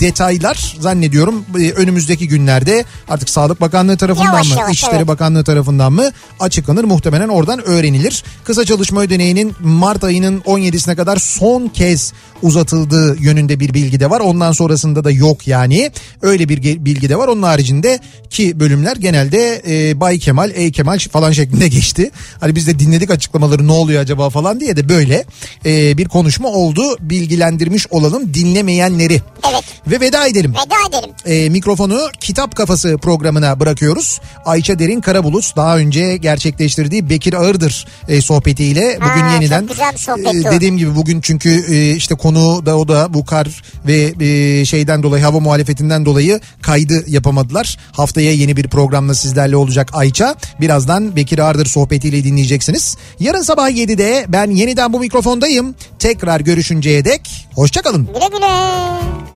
detaylar zannediyorum e, önümüzdeki günlerde artık Sağlık Bakanlığı tarafından
Yavaş
mı,
yavaş,
İçişleri
evet.
Bakanlığı tarafından mı açıklanır muhtemelen oradan öğrenilir. Kısa çalışma ödeneğinin Mart ayının 17'sine kadar son kez uzatıldığı yönünde bir bilgi de var. Ondan sonrasında da yok yani. Öyle bir ge- bilgi de var. Onun haricinde ki bölümler genelde e, Bay Kemal, Ey Kemal falan şeklinde geçti. Hani biz de dinledik açıklamaları ne oluyor acaba falan diye de böyle e, bir konuşma oldu. Bilgilendirmiş olalım dinlemeyenleri.
Evet.
Ve veda edelim
Veda edelim.
e, mikrofonu Kitap Kafası programına bırakıyoruz. Ayça Derin Karabulut daha önce gerçekleştirdiği Bekir Ağırdır e, sohbetiyle bugün
Ha, çok
yeniden e,
güzel bir sohbetti o.
dediğim gibi bugün çünkü e, işte konu da o da bu kar ve e, şeyden dolayı hava muhalefetinden dolayı kaydı yapamadılar. Haftaya yeni bir programla sizlerle olacak Ayça. Birazdan Bekir Ağırdır sohbetiyle dinleyeceksiniz. Yarın sabah 7'de ben yeniden bu mikrofondayım. Tekrar görüşünceye dek hoşçakalın.
Güle güle.